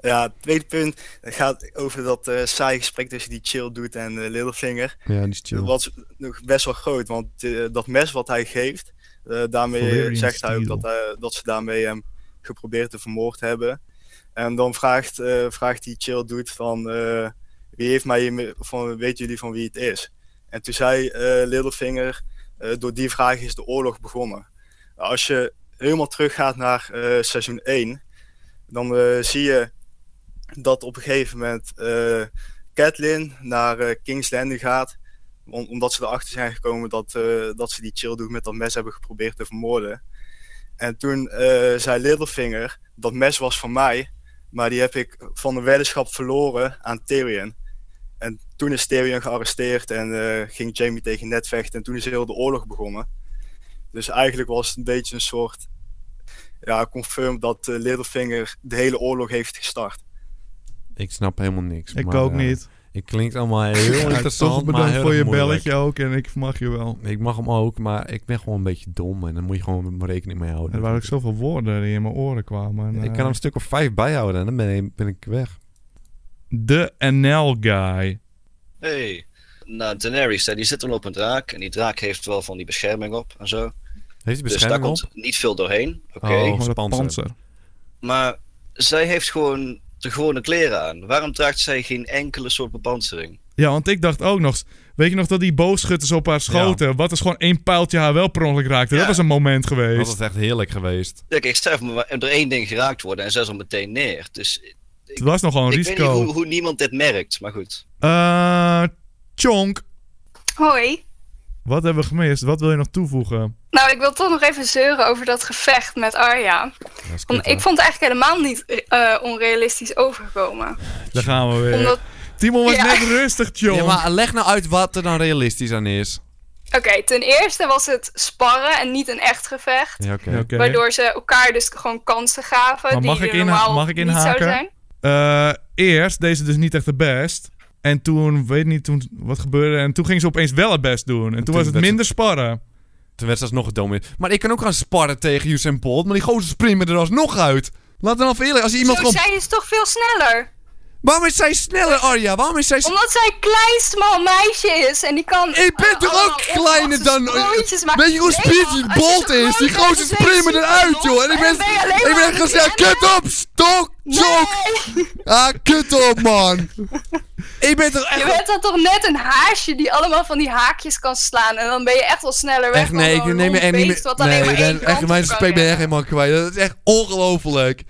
Speaker 17: Ja, het tweede punt gaat over dat eh saaie gesprek tussen die chill doet en eh, Littlefinger.
Speaker 13: Ja, die is chill.
Speaker 17: Dat was nog best wel groot, want eh, dat mes wat hij geeft, eh, daarmee
Speaker 13: Valyrian
Speaker 17: zegt hij ook
Speaker 13: steel.
Speaker 17: dat, eh, dat ze daarmee hem geprobeerd te vermoord hebben. En dan vraagt, eh, vraagt die chill dude van, eh, wie heeft mij hiermee- van, weten jullie van wie het is? En toen zei eh, Littlefinger, eh, door die vraag is de oorlog begonnen. Als je helemaal teruggaat naar eh, seizoen 1, dan eh, zie je dat op een gegeven moment eh Catelyn naar eh, King's Landing gaat. om- omdat ze erachter zijn gekomen dat, eh, dat ze die Childoe met dat mes hebben geprobeerd te vermoorden. En toen eh, zei Littlefinger, dat mes was van mij, maar die heb ik van de weddenschap verloren aan Tyrion. En toen is Tyrion gearresteerd en eh, ging Jamie tegen Ned vechten en toen is heel de oorlog begonnen. Dus eigenlijk was het een beetje een soort ja, confirm dat eh, Littlefinger de hele oorlog heeft gestart.
Speaker 13: Ik snap helemaal niks.
Speaker 1: Ik
Speaker 13: maar,
Speaker 1: ook
Speaker 13: eh,
Speaker 1: niet.
Speaker 2: Het klinkt allemaal heel interessant,
Speaker 1: bedankt
Speaker 2: maar heel
Speaker 1: voor je
Speaker 2: moeilijk.
Speaker 1: belletje ook en ik mag je wel.
Speaker 2: Ik mag hem ook, maar ik ben gewoon een beetje dom en daar moet je gewoon rekening mee houden.
Speaker 1: Er waren ook zoveel woorden die in mijn oren kwamen. eh,
Speaker 2: Ik kan hem een stuk of vijf bijhouden en dan ben, ben ik weg.
Speaker 1: De NL Guy.
Speaker 18: Hey. Nou, Daenerys, hè, die zit dan op een draak. En die draak heeft wel van die bescherming op en zo.
Speaker 2: Heeft hij
Speaker 18: dus daar
Speaker 2: bescherming
Speaker 18: komt
Speaker 2: op?
Speaker 18: niet veel doorheen. Oké.
Speaker 2: Oh, dat panzer.
Speaker 18: Maar zij heeft gewoon de gewone kleren aan. Waarom draagt zij geen enkele soort bepansering?
Speaker 1: Ja, want ik dacht ook nog... eens- Weet je nog dat die boogschutters op haar schoten? Wat is gewoon één pijltje haar wel per ongeluk raakte? Dat
Speaker 18: Ja.
Speaker 1: was een moment geweest.
Speaker 2: Dat is echt heerlijk geweest.
Speaker 18: Ja, kijk, sterf me maar door één ding geraakt worden en zij is al meteen neer. Dus ik
Speaker 1: Het was nogal een
Speaker 18: weet niet
Speaker 1: risico.
Speaker 18: hoe, hoe niemand dit merkt, maar goed.
Speaker 1: Eh, Chonk,
Speaker 19: Hoi.
Speaker 1: wat hebben we gemist? Wat wil je nog toevoegen?
Speaker 19: Nou, ik wil toch nog even zeuren over dat gevecht met Arya. Want ik vond het eigenlijk helemaal niet eh, onrealistisch overgekomen.
Speaker 1: Daar gaan we weer.
Speaker 19: Omdat...
Speaker 1: Timon was
Speaker 19: Ja.
Speaker 1: net rustig, Chonk.
Speaker 2: Ja, maar leg nou uit wat er dan realistisch aan is.
Speaker 19: Oké, ten eerste was het sparren en niet een echt gevecht.
Speaker 2: Ja, oké.
Speaker 19: Waardoor ze elkaar dus gewoon kansen gaven
Speaker 1: Maar mag
Speaker 19: die
Speaker 1: ik,
Speaker 19: er
Speaker 1: in,
Speaker 19: normaal
Speaker 1: mag ik
Speaker 19: niet zouden zijn.
Speaker 1: inhaken? Eh, eerst deze dus niet echt de best. En toen, weet niet toen wat gebeurde. En toen ging ze opeens wel het best doen. En toen, was het
Speaker 2: werd
Speaker 1: minder sparren.
Speaker 2: Toen werd ze alsnog gedomineerd. Maar ik kan ook gaan sparren tegen Usain Bolt, maar die gozer springen er alsnog uit. Laat dan af eerlijk, als iemand
Speaker 19: Zo,
Speaker 2: gewoon...
Speaker 19: zij is toch veel sneller?
Speaker 2: Waarom is zij sneller, Arja? Waarom is zij... s-
Speaker 19: Omdat zij een klein, smal meisje is en die kan... eh, Ik ben
Speaker 2: toch ook kleiner dan- Weet je hoe Speedy Bolt is? Die gozer springen eruit, joh. En ik ben... Ik ben echt gezegd, kut op, stok, jok. Ah, kut op, man. ik ben toch echt...
Speaker 19: Je bent dan toch net een haasje die allemaal van die haakjes kan slaan en dan ben je echt wel sneller weg
Speaker 2: Echt,
Speaker 19: dan
Speaker 2: nee, ik
Speaker 19: zo'n
Speaker 2: neem me
Speaker 19: lomp
Speaker 2: echt niet
Speaker 19: beest
Speaker 2: meer...
Speaker 19: wat alleen
Speaker 2: Nee,
Speaker 19: maar
Speaker 2: ik ben
Speaker 19: één kant
Speaker 2: echt, mijn
Speaker 19: op kan
Speaker 2: gesprek
Speaker 19: rennen.
Speaker 2: ben je echt helemaal kwijt. Dat is echt ongelooflijk.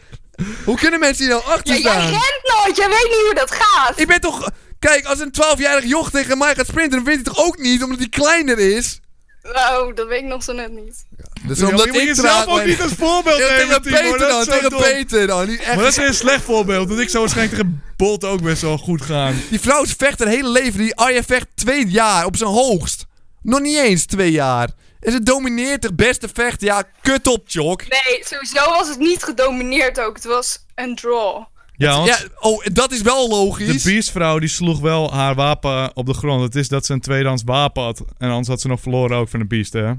Speaker 2: Hoe kunnen mensen hier nou achter
Speaker 19: Ja,
Speaker 2: staan?
Speaker 19: jij rent nooit, jij weet niet hoe dat gaat.
Speaker 2: Ik ben toch... Kijk, als een 12-jarig joch tegen mij gaat sprinten, dan wint hij toch ook niet, omdat hij kleiner is?
Speaker 19: Oh, dat weet ik nog zo net niet.
Speaker 2: Dus
Speaker 1: Ja,
Speaker 2: omdat
Speaker 1: je moet
Speaker 2: ik
Speaker 1: jezelf
Speaker 2: traag
Speaker 1: ook
Speaker 2: ben-
Speaker 1: niet als voorbeeld
Speaker 2: Ja,
Speaker 1: nemen,
Speaker 2: tegen
Speaker 1: Timo,
Speaker 2: Peter
Speaker 1: dat is
Speaker 2: dan,
Speaker 1: zo
Speaker 2: tegen
Speaker 1: dom.
Speaker 2: Peter dan. Die echt...
Speaker 1: Maar dat is weer een slecht voorbeeld. Want ik zou waarschijnlijk tegen Bolt ook best wel goed gaan.
Speaker 2: Die vrouw vecht haar hele leven. Die Arya vecht twee jaar op zijn hoogst. Nog niet eens twee jaar. En ze domineert het beste vecht. Ja, kut op, Chok.
Speaker 19: Nee, sowieso was het niet gedomineerd ook, het was een draw.
Speaker 1: Ja, want
Speaker 2: oh, dat is wel logisch.
Speaker 1: De beestvrouw die sloeg wel haar wapen op de grond. Het is dat ze een tweedehands wapen had. En anders had ze nog verloren ook van de beest, hè?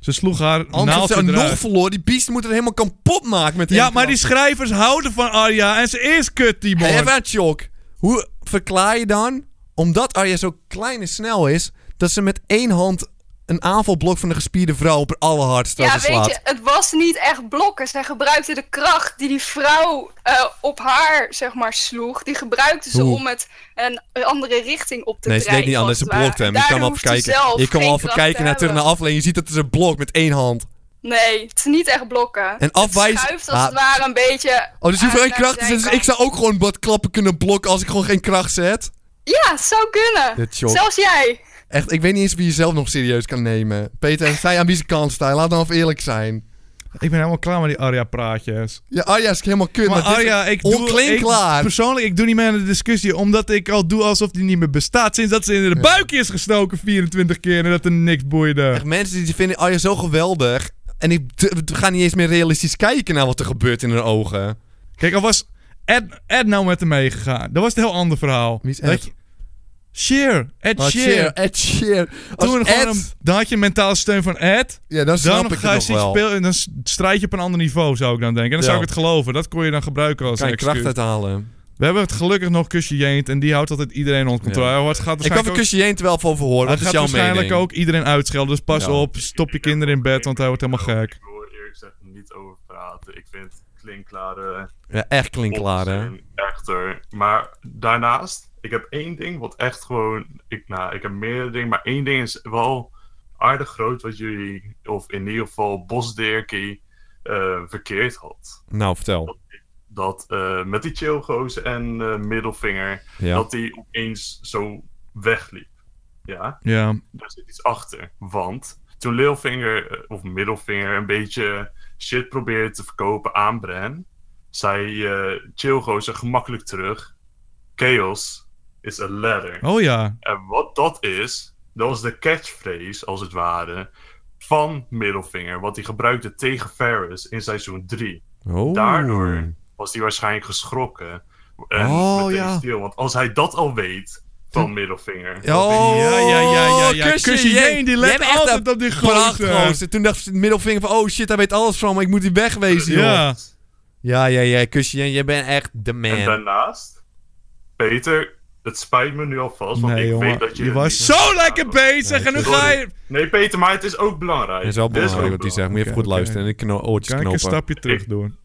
Speaker 1: Ze sloeg haar
Speaker 2: Anders had
Speaker 1: naaldje
Speaker 2: ze
Speaker 1: eruit.
Speaker 2: nog verloren. Die beest moet het helemaal kapot maken met
Speaker 1: Ja, maar die schrijvers houden van Arya en ze is kut, die
Speaker 2: man. Even aan Chok. Hoe verklaar je dan, omdat Arya zo klein en snel is, dat ze met één hand een aanvalblok van de gespierde vrouw op haar allerhardste
Speaker 19: Ja,
Speaker 2: slaat?
Speaker 19: weet je, het was niet echt blokken. Zij gebruikte de kracht die die vrouw eh, op haar, zeg maar, sloeg. Die gebruikte ze
Speaker 2: Hoe?
Speaker 19: om het een andere richting op te
Speaker 2: Nee, ze
Speaker 19: drijven.
Speaker 2: deed niet anders. Ze
Speaker 19: als het ware.
Speaker 2: blokte hem. Je
Speaker 19: Daardoor
Speaker 2: kan hem al
Speaker 19: hoefde ze
Speaker 2: verkijken.
Speaker 19: zelf
Speaker 2: Je kan
Speaker 19: geen
Speaker 2: hem al
Speaker 19: kracht
Speaker 2: verkijken
Speaker 19: te
Speaker 2: naar terug naar
Speaker 19: hebben.
Speaker 2: afleen. Je ziet dat het een blok met één hand.
Speaker 19: Nee, het is niet echt blokken.
Speaker 2: En afwijzen-
Speaker 19: Het schuift als het
Speaker 2: Ah.
Speaker 19: ware een beetje...
Speaker 2: Oh, dus je hoeft
Speaker 19: aan
Speaker 2: geen
Speaker 19: naar
Speaker 2: kracht te zetten. Dus ik
Speaker 19: zijkant.
Speaker 2: zou ook gewoon wat klappen kunnen blokken als ik gewoon geen kracht zet.
Speaker 19: Ja, het zou kunnen.
Speaker 2: Dit joh.
Speaker 19: Zelfs jij.
Speaker 2: Echt, ik weet niet eens wie je zelf nog serieus kan nemen. Peter, en zij aan wie ze kant staan. Laat dan af eerlijk zijn.
Speaker 1: Ik ben helemaal klaar met die Arya-praatjes.
Speaker 2: Ja, Arja is helemaal kut.
Speaker 1: Maar
Speaker 2: dit is
Speaker 1: Arya, ik doe...
Speaker 2: onklein
Speaker 1: Ik,
Speaker 2: klaar.
Speaker 1: Persoonlijk, ik doe niet meer aan de discussie, omdat ik al doe alsof die niet meer bestaat. Sinds dat ze in de buik is gestoken 24 keer en dat er niks boeide.
Speaker 2: Echt, mensen die vinden Arja zo geweldig. En ik gaan niet eens meer realistisch kijken naar wat er gebeurt in hun ogen.
Speaker 1: Kijk, al was Ed, Ed nou met hem meegegaan, dat was een heel ander verhaal. Wie is
Speaker 2: Ed?
Speaker 1: Sheer, Ed
Speaker 2: Oh,
Speaker 1: Sheer.
Speaker 2: Sheer, Ed Sheer. Als
Speaker 1: Toen gewoon
Speaker 2: Ed-
Speaker 1: een- dan had je mentale steun van Ed.
Speaker 2: Ja, dan snap ik het
Speaker 1: ga je
Speaker 2: nog
Speaker 1: zoiets
Speaker 2: wel.
Speaker 1: spelen en dan s- strijd je op een ander niveau, zou ik dan denken. En dan
Speaker 2: Ja.
Speaker 1: zou ik het geloven. Dat kon je dan gebruiken als
Speaker 2: Kan
Speaker 1: een
Speaker 2: je kracht
Speaker 1: excuus.
Speaker 2: uithalen.
Speaker 1: We hebben het gelukkig nog kusje Jeent en die houdt altijd iedereen onder controle.
Speaker 2: Ja.
Speaker 1: Ja. Het gaat
Speaker 2: Ik kan van
Speaker 1: waarschijnlijk
Speaker 2: kusje Jeent wel van
Speaker 1: ook,
Speaker 2: verhoren. Wat
Speaker 1: het
Speaker 2: is
Speaker 1: gaat
Speaker 2: jouw
Speaker 1: waarschijnlijk
Speaker 2: mening?
Speaker 1: ook iedereen uitschelden. Dus pas
Speaker 2: Ja.
Speaker 1: op, stop je kinderen in bed, want hij wordt helemaal gek.
Speaker 20: Ik wil er eerlijk gezegd niet over praten. Ik vind klinkklare...
Speaker 2: Ja, echt klinkklaar, hè?
Speaker 20: onzin Echter. Maar daarnaast, ik heb één ding wat echt gewoon... Ik, nou, ik heb meerdere dingen, maar één ding is wel aardig groot wat jullie... Of in ieder geval Bosdirkie eh, verkeerd had.
Speaker 2: Nou, vertel.
Speaker 20: dat eh, met die chillgoos en eh, middelvinger,
Speaker 2: Ja.
Speaker 20: dat die opeens zo wegliep. Ja?
Speaker 1: Ja.
Speaker 20: Daar zit iets achter. Want toen Lilvinger eh, of middelvinger een beetje shit probeerde te verkopen aan Bren, zei eh chillgoos er gemakkelijk terug: Chaos is a ladder.
Speaker 1: Oh ja.
Speaker 20: En wat dat is, dat was de catchphrase, als het ware, van Middelvinger, wat hij gebruikte tegen Ferris in seizoen 3.
Speaker 2: Oh.
Speaker 20: Daardoor was hij waarschijnlijk geschrokken En
Speaker 2: Oh,
Speaker 20: meteen
Speaker 2: ja.
Speaker 20: stil. Want als hij dat al weet van middelvinger.
Speaker 2: Oh,
Speaker 1: ja, ja, ja, ja, ja. Kusje
Speaker 2: Jeen,
Speaker 1: Jeen, die let
Speaker 2: jij bent echt
Speaker 1: altijd
Speaker 2: een
Speaker 1: op die gozer.
Speaker 2: prachtgozer. Toen dacht ik middelvinger van, oh shit, hij weet alles van me, ik moet die wegwezen, joh.
Speaker 1: Ja.
Speaker 2: Ja, ja, ja, Kusje Jeen, jij bent echt de man.
Speaker 20: En daarnaast, Peter, het spijt me nu alvast, want
Speaker 2: Nee,
Speaker 20: ik
Speaker 2: jongen,
Speaker 20: weet dat je...
Speaker 2: je
Speaker 20: het
Speaker 2: was
Speaker 20: niet-
Speaker 1: Zo lekker bezig en nu
Speaker 20: Sorry.
Speaker 1: ga je...
Speaker 20: Nee, Peter, maar het is ook belangrijk.
Speaker 2: Dat is wel
Speaker 20: Dit
Speaker 2: belangrijk
Speaker 20: ook
Speaker 2: wat hij zegt. Moet je even
Speaker 1: Oké,
Speaker 2: goed
Speaker 1: oké.
Speaker 2: luisteren en de kno oortjes
Speaker 1: Kan ik een
Speaker 2: knopen.
Speaker 1: stapje terug doen?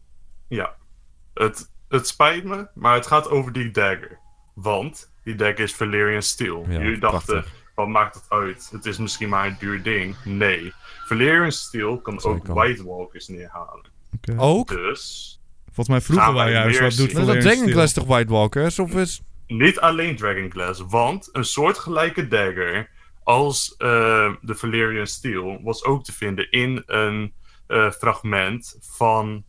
Speaker 20: Ja, het, het spijt me, maar het gaat over die dagger. Want die dagger is Valerian Steel.
Speaker 2: Ja,
Speaker 20: Jullie dachten,
Speaker 2: prachtig.
Speaker 20: wat maakt het uit? Het is misschien maar een duur ding. Nee, Valerian Steel kan ook
Speaker 1: kan.
Speaker 20: White Walkers neerhalen.
Speaker 1: Oké.
Speaker 2: Ook?
Speaker 20: Dus
Speaker 1: Volgens mij vroegen
Speaker 20: Gaan
Speaker 1: wij
Speaker 20: wij
Speaker 1: juist
Speaker 20: weer
Speaker 1: wat doet
Speaker 20: zien. Maar
Speaker 2: Dat
Speaker 1: Valerian
Speaker 2: Dragon
Speaker 1: Steel?
Speaker 2: Glass toch White Walkers? Of is...
Speaker 20: niet alleen Dragon Glass, want een soortgelijke dagger als eh, de Valerian Steel was ook te vinden in een eh, fragment van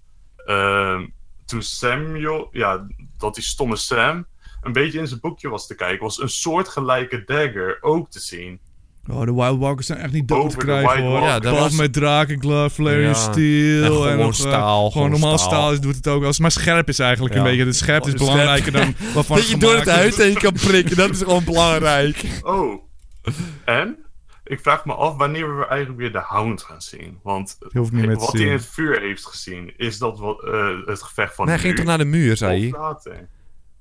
Speaker 20: ehm, toen Samuel, ja, dat die stomme Sam een beetje in zijn boekje was te kijken, was een soortgelijke dagger ook te zien.
Speaker 1: Oh, de Wild Walkers zijn echt niet dood te
Speaker 20: Over de
Speaker 1: krijgen
Speaker 20: Wild
Speaker 1: hoor.
Speaker 20: Walkers.
Speaker 1: Ja,
Speaker 20: Ja, dat was-
Speaker 1: met drakenglove, Flare
Speaker 20: Ja.
Speaker 1: Steel.
Speaker 20: En gewoon
Speaker 1: nog, eh,
Speaker 20: staal,
Speaker 1: Gewoon
Speaker 20: gewoon
Speaker 1: normaal
Speaker 20: staal.
Speaker 1: staal is- doet het ook wel eens. Maar scherp is eigenlijk een
Speaker 2: Ja.
Speaker 1: beetje. De scherp is
Speaker 2: Scherp.
Speaker 1: belangrijker dan waarvan
Speaker 2: Dat je door het huis heen kan prikken, dat is gewoon belangrijk.
Speaker 20: Oh. En ik vraag me af wanneer we eigenlijk weer de Hound gaan zien. Want
Speaker 1: Je hoeft niet meer te
Speaker 20: wat
Speaker 1: zien.
Speaker 20: hij in het vuur heeft gezien, is dat wat, eh, het gevecht van
Speaker 2: Nee, hij ging
Speaker 20: nu
Speaker 2: toch naar de muur, zei
Speaker 20: of
Speaker 2: hij?
Speaker 20: later?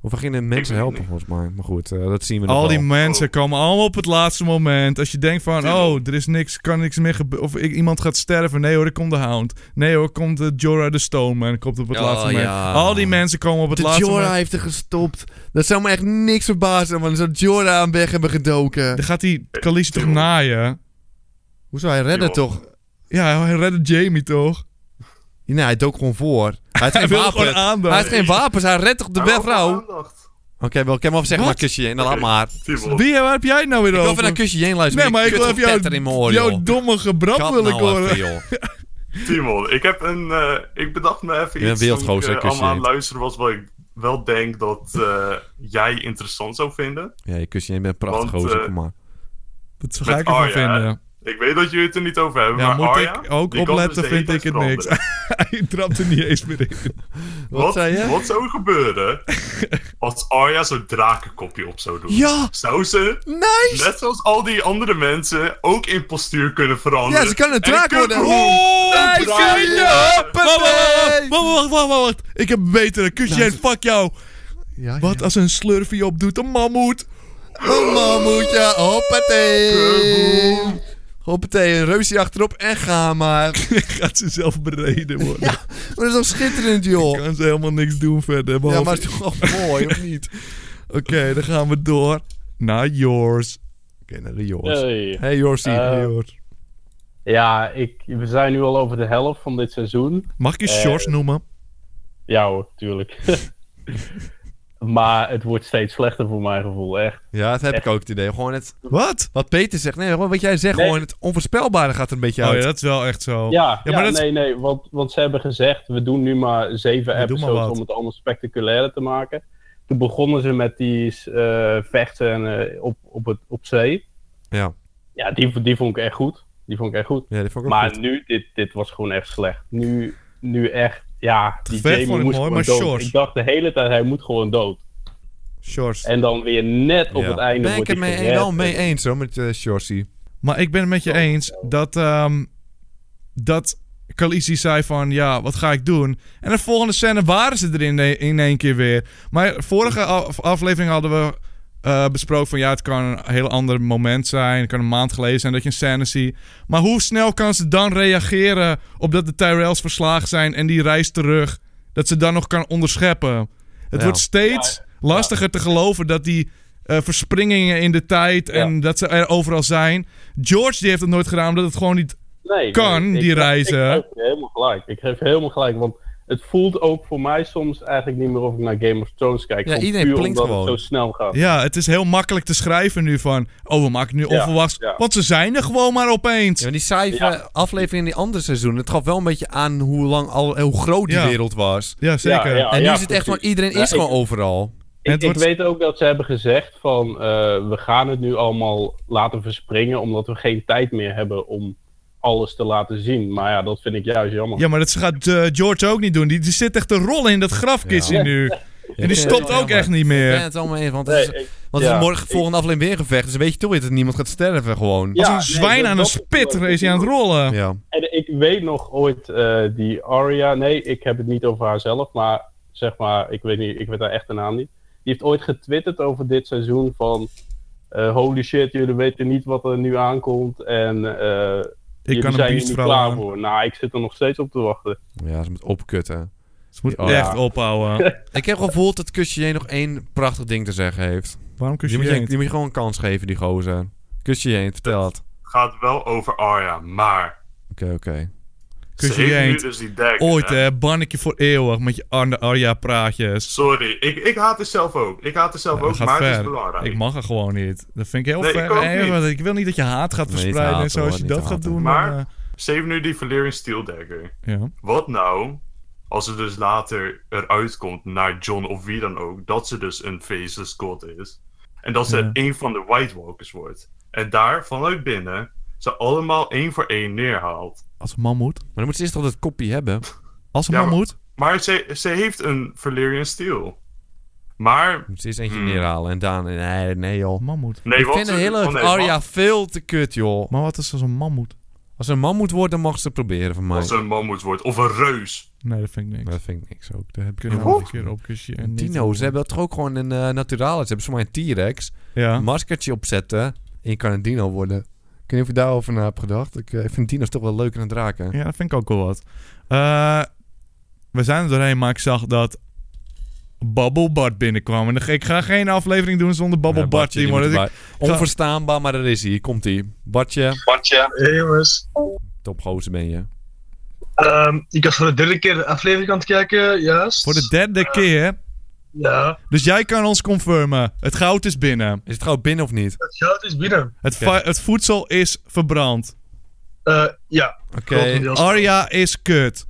Speaker 2: Of we gingen mensen helpen, volgens mij. Maar goed, eh, dat zien we nog
Speaker 1: Al die
Speaker 2: wel.
Speaker 1: mensen komen allemaal op het laatste moment. Als je denkt van, oh, er is niks, kan niks meer gebeuren. Of ik, iemand gaat sterven. Nee hoor, er komt de Hound. Nee hoor, komt de Jorah de Stoneman. Komt op het
Speaker 2: Oh,
Speaker 1: laatste moment.
Speaker 2: ja.
Speaker 1: Al die mensen komen op het
Speaker 2: de
Speaker 1: laatste
Speaker 2: Jorah
Speaker 1: moment.
Speaker 2: heeft er gestopt. Dat zou me echt niks verbazen, want zou Jorah aan weg hebben gedoken. Dan
Speaker 1: gaat die Khaleesi toch naaien?
Speaker 2: Hoezo, hij redde
Speaker 1: Jorah.
Speaker 2: toch?
Speaker 1: Ja, hij redde Jamie toch?
Speaker 2: Ja, nee, hij dook gewoon voor. Hij heeft
Speaker 1: Hij
Speaker 2: geen
Speaker 1: wil
Speaker 2: wapens.
Speaker 1: gewoon aandacht.
Speaker 2: Hij heeft geen wapens, hij redt toch de
Speaker 1: Hij wil
Speaker 2: vrouw?
Speaker 1: gewoon
Speaker 2: Oké, wel, ik heb hem af, zeg maar kusje en dan laat maar.
Speaker 1: Wie, waar heb jij het nou weer
Speaker 2: Ik wil
Speaker 1: over?
Speaker 2: even naar kusje heen luisteren.
Speaker 1: Nee, maar ik wil
Speaker 2: Kut
Speaker 1: even
Speaker 2: getetter
Speaker 1: jouw-
Speaker 2: in mijn oor,
Speaker 1: jouw
Speaker 2: Oh, joh.
Speaker 1: domme gebrand
Speaker 2: Kat
Speaker 1: wil ik
Speaker 2: nou even,
Speaker 1: horen.
Speaker 2: joh.
Speaker 20: Timon, ik heb een. eh, ik bedacht me even
Speaker 2: Je bent
Speaker 20: iets. toen
Speaker 2: wildgoos,
Speaker 20: ik,
Speaker 2: hè,
Speaker 20: eh,
Speaker 2: kusje
Speaker 20: allemaal aan
Speaker 2: heet.
Speaker 20: het luisteren was wat ik wel denk dat eh, jij interessant zou vinden.
Speaker 2: Ja, je kusje heen bent prachtig,
Speaker 20: Want,
Speaker 2: gozer,
Speaker 20: eh,
Speaker 2: kom maar.
Speaker 1: Dat
Speaker 20: Met Arya, hè? Ik weet dat jullie het er niet over hebben,
Speaker 1: Ja,
Speaker 20: maar
Speaker 1: moet
Speaker 20: Arya,
Speaker 1: ik ook
Speaker 20: die kan
Speaker 1: opletten,
Speaker 20: dus de hele
Speaker 1: vind ik
Speaker 20: tijd
Speaker 1: het niks.
Speaker 20: veranderen.
Speaker 1: hij trapt er niet eens meer in.
Speaker 20: Wat, wat, zou er gebeuren als Arya zo'n drakenkopje op zou doen?
Speaker 1: Ja!
Speaker 20: Zou ze,
Speaker 2: Nice!
Speaker 20: net zoals al die andere mensen, ook in postuur kunnen veranderen?
Speaker 2: Ja, ze kan een draak worden.
Speaker 20: Oh,
Speaker 2: Nice, ja.
Speaker 1: Wacht, wacht, wacht,
Speaker 2: Hoppatee.
Speaker 1: wacht, wacht, wacht, wacht. Ik heb een betere. Kusje, en fuck jou. Wat als een slurfie opdoet? Een mammoet.
Speaker 2: Een mammoet, ja, hoppatee. Hoppatee, een reusje achterop en ga maar.
Speaker 1: Gaat ze zelf bereden worden.
Speaker 2: Maar dat is toch schitterend, joh.
Speaker 1: Kan ze helemaal niks doen verder.
Speaker 2: Ja,
Speaker 1: behalve-
Speaker 2: maar het is toch wel mooi, of niet?
Speaker 1: Oké, dan gaan we door naar Yours. Oké, naar de Yours.
Speaker 5: Hey.
Speaker 1: Hey Jorsie,
Speaker 5: Eh,
Speaker 1: hey, Yours.
Speaker 5: Ja, ik, we zijn nu al over de helft van dit seizoen.
Speaker 1: Mag ik je
Speaker 5: Eh,
Speaker 1: Shores noemen?
Speaker 5: Ja hoor, tuurlijk. maar het wordt steeds slechter voor mijn gevoel, echt.
Speaker 2: Ja, dat heb ik ook het idee. Gewoon het...
Speaker 1: Wat?
Speaker 2: Wat Peter zegt. Nee, gewoon wat jij zegt.
Speaker 5: Nee.
Speaker 2: Gewoon het onvoorspelbare gaat er een beetje uit.
Speaker 1: Oh is wel echt zo.
Speaker 5: Ja, ja, nee, nee, want, want ze hebben gezegd, we doen nu maar zeven
Speaker 1: We doen maar
Speaker 5: episodes
Speaker 1: wat.
Speaker 5: om het allemaal spectaculairder te maken. Toen begonnen ze met die eh, vechten eh, op, op, het, op zee.
Speaker 2: Ja.
Speaker 5: Ja, die, die vond ik echt goed. Die vond ik echt goed.
Speaker 2: Ja, die vond ik ook
Speaker 5: maar
Speaker 2: goed.
Speaker 5: nu, dit, dit was gewoon echt slecht. Nu, nu echt, ja, die
Speaker 1: gevecht
Speaker 5: Jamie
Speaker 1: vond ik
Speaker 5: moest
Speaker 1: mooi,
Speaker 5: gewoon
Speaker 1: maar
Speaker 5: dood.
Speaker 1: Shores.
Speaker 5: Ik dacht de hele tijd, hij moet gewoon dood.
Speaker 1: Shores.
Speaker 5: En dan weer net op
Speaker 1: Ja.
Speaker 5: het einde
Speaker 2: ben ik
Speaker 5: wordt
Speaker 2: het
Speaker 5: hij
Speaker 2: mee,
Speaker 5: gered.
Speaker 2: wel mee eens hoor, met eh Shorty.
Speaker 1: Maar ik ben het met
Speaker 2: Oh.
Speaker 1: je eens dat, ehm dat Khaleesi zei van, ja, wat ga ik doen? En de volgende scène waren ze er in, e- in één keer weer. Maar vorige af- aflevering hadden we eh, besproken van, ja, het kan een heel ander moment zijn. Het kan een maand geleden zijn dat je een scène ziet. Maar hoe snel kan ze dan reageren op dat de Tyrells verslagen zijn en die reis terug? Dat ze dan nog kan onderscheppen. Het
Speaker 2: Ja.
Speaker 1: wordt steeds lastiger te geloven dat die eh, verspringingen in de tijd en dat ze er overal zijn. George die heeft het nooit gedaan omdat het gewoon niet
Speaker 5: Nee,
Speaker 1: kan,
Speaker 5: nee, ik-
Speaker 1: die
Speaker 5: ik-
Speaker 1: reizen.
Speaker 5: Ik geef je helemaal gelijk. Ik geef je helemaal gelijk, want het voelt ook voor mij soms eigenlijk niet meer of ik naar Game of Thrones kijk.
Speaker 1: Ja,
Speaker 5: Gewoon
Speaker 1: iedereen
Speaker 5: puur
Speaker 1: plinkt
Speaker 5: omdat
Speaker 1: gewoon.
Speaker 5: het zo snel gaat.
Speaker 1: ja, het is heel makkelijk te schrijven nu van... Oh, we maken nu
Speaker 5: Ja,
Speaker 1: onverwachts.
Speaker 5: ja.
Speaker 1: Want ze zijn er gewoon maar opeens.
Speaker 2: Ja, die saaie eh, aflevering in die andere seizoen, het gaf wel een beetje aan hoe lang al, hoe groot die
Speaker 1: Ja.
Speaker 2: wereld was.
Speaker 1: Ja, zeker.
Speaker 5: ja,
Speaker 2: en nu
Speaker 5: ja,
Speaker 2: is het echt
Speaker 5: precies.
Speaker 2: van iedereen
Speaker 5: Ja,
Speaker 2: is
Speaker 5: ik-
Speaker 2: gewoon overal.
Speaker 5: Ik, ik weet ook dat ze hebben gezegd van eh, we gaan het nu allemaal laten verspringen omdat we geen tijd meer hebben om alles te laten zien. Maar ja, dat vind ik juist jammer.
Speaker 1: Ja, maar dat gaat eh, George ook niet doen. Die, die zit echt te rollen in dat grafkistje
Speaker 5: Ja.
Speaker 1: nu.
Speaker 5: Ja.
Speaker 1: Ja, En die stopt ook echt niet meer.
Speaker 2: Ik ben het allemaal eens, want, het
Speaker 1: Nee,
Speaker 2: is,
Speaker 1: ik-
Speaker 2: want het
Speaker 1: ja,
Speaker 2: is morgen volgende aflevering weer een gevecht. Dus weet je toch weer dat niemand gaat sterven gewoon.
Speaker 1: Als een zwijn aan een spit is hij aan het rollen.
Speaker 2: Ja.
Speaker 5: En ik weet nog ooit eh, die Aria. Nee, ik heb het niet over haarzelf, maar zeg maar, ik weet, niet, ik weet haar echte naam niet. Die heeft ooit getwitterd over dit seizoen van eh, holy shit, jullie weten niet wat er nu aankomt en eh jullie
Speaker 1: kan een
Speaker 5: zijn hier niet
Speaker 1: beastvrouw
Speaker 5: klaar
Speaker 1: aan.
Speaker 5: voor. Nou, ik zit er nog steeds op te wachten.
Speaker 2: Ja, ze moet opkutten. Oh,
Speaker 1: Ze moet echt ophouden.
Speaker 2: Ik heb gevoeld dat Kusje nog één prachtig ding te zeggen heeft.
Speaker 1: Waarom Kusje
Speaker 2: die moet, je,
Speaker 1: Jeen?
Speaker 2: die moet je gewoon een kans geven, die gozer. Kusje Jeen, vertel het.
Speaker 20: gaat wel over Arya, maar
Speaker 2: Oké, oké.
Speaker 1: Kus
Speaker 20: Ze
Speaker 1: je
Speaker 20: heeft nu
Speaker 1: eend.
Speaker 20: dus die dagger,
Speaker 1: Ooit
Speaker 20: hè?
Speaker 1: hè, ban ik je voor eeuwig met je Arne Arja praatjes.
Speaker 20: sorry, ik, ik haat het zelf ook. Ik haat het zelf
Speaker 1: Dat
Speaker 20: ook,
Speaker 1: gaat
Speaker 20: maar het is
Speaker 1: ver.
Speaker 20: belangrijk.
Speaker 1: Ik mag er gewoon niet. Dat vind ik heel
Speaker 20: Nee,
Speaker 1: ver.
Speaker 20: ik ook
Speaker 1: Nee,
Speaker 20: niet.
Speaker 1: want ik wil niet dat je haat gaat
Speaker 20: Nee,
Speaker 1: verspreiden
Speaker 20: niet
Speaker 1: en zo.
Speaker 20: haten,
Speaker 1: Als je
Speaker 20: hoor,
Speaker 1: dat
Speaker 20: niet
Speaker 1: gaat
Speaker 20: haten.
Speaker 1: doen.
Speaker 20: Maar
Speaker 1: dan, eh,
Speaker 20: ze heeft nu die Valyrian Steel Dagger.
Speaker 1: Ja.
Speaker 20: Wat nou als ze dus later eruit komt naar John of wie dan ook, dat ze dus een faceless god is. En dat ze
Speaker 1: Ja.
Speaker 20: een van de White Walkers wordt. En daar vanuit binnen ze allemaal één voor één neerhaalt.
Speaker 1: Als een man moet. Maar
Speaker 2: dan moet ze eerst toch dat kopje hebben.
Speaker 1: Als een
Speaker 20: Ja,
Speaker 1: man
Speaker 20: maar-
Speaker 1: moet.
Speaker 20: Maar ze, ze heeft een Valyrian Steel. Maar.
Speaker 2: Moet ze eerst
Speaker 1: Hmm.
Speaker 2: eentje neerhalen en daarna... Nee, nee joh.
Speaker 1: Mammoet.
Speaker 20: Nee,
Speaker 2: ik
Speaker 20: want
Speaker 2: vind de
Speaker 20: ze-
Speaker 2: hele
Speaker 20: oh, nee,
Speaker 2: Arya
Speaker 20: man-
Speaker 2: veel te kut, joh.
Speaker 1: Oh. Maar wat is als een man moet?
Speaker 2: Als ze een man moet worden, dan mag ze het proberen van mij.
Speaker 20: Als ze een mammoet wordt, of een reus.
Speaker 1: Nee, dat vind ik niks.
Speaker 2: Dat vind ik niks ook. Daar heb ik
Speaker 1: Kunnen we nog een keer op kusje en niet
Speaker 2: Dino's
Speaker 1: over.
Speaker 2: hebben dat toch ook gewoon een eh naturalis. Ze hebben zomaar een T-Rex.
Speaker 1: Ja.
Speaker 2: Een maskertje opzetten. En je kan een dino worden. Ik weet niet of je daarover na hebt gedacht. Ik eh, vind dino's toch wel leuker dan draken.
Speaker 1: Ja, dat vind ik ook wel wat. Eh, we zijn er doorheen, maar ik zag dat Babbelbart binnenkwam. En dan ga- ik ga geen aflevering doen zonder Babbelbart.
Speaker 2: Bartje, die
Speaker 1: Timo.
Speaker 2: moet
Speaker 1: Dat ik-
Speaker 2: erbij. Onverstaanbaar, maar daar is hij. Komt hij. Bartje.
Speaker 6: Bartje. Hey jongens.
Speaker 2: Topgozer ben je.
Speaker 6: Ehm, ik was voor de derde keer de aflevering aan het kijken, juist.
Speaker 1: Voor de derde keer.
Speaker 6: Ja.
Speaker 1: Dus jij kan ons confirmen. Het goud is binnen.
Speaker 2: Is het goud binnen of niet?
Speaker 6: Het goud is binnen.
Speaker 1: Het, va- het voedsel is verbrand.
Speaker 6: Eh, ja.
Speaker 1: Oké.
Speaker 6: Grotendeels.
Speaker 1: Arya is kut.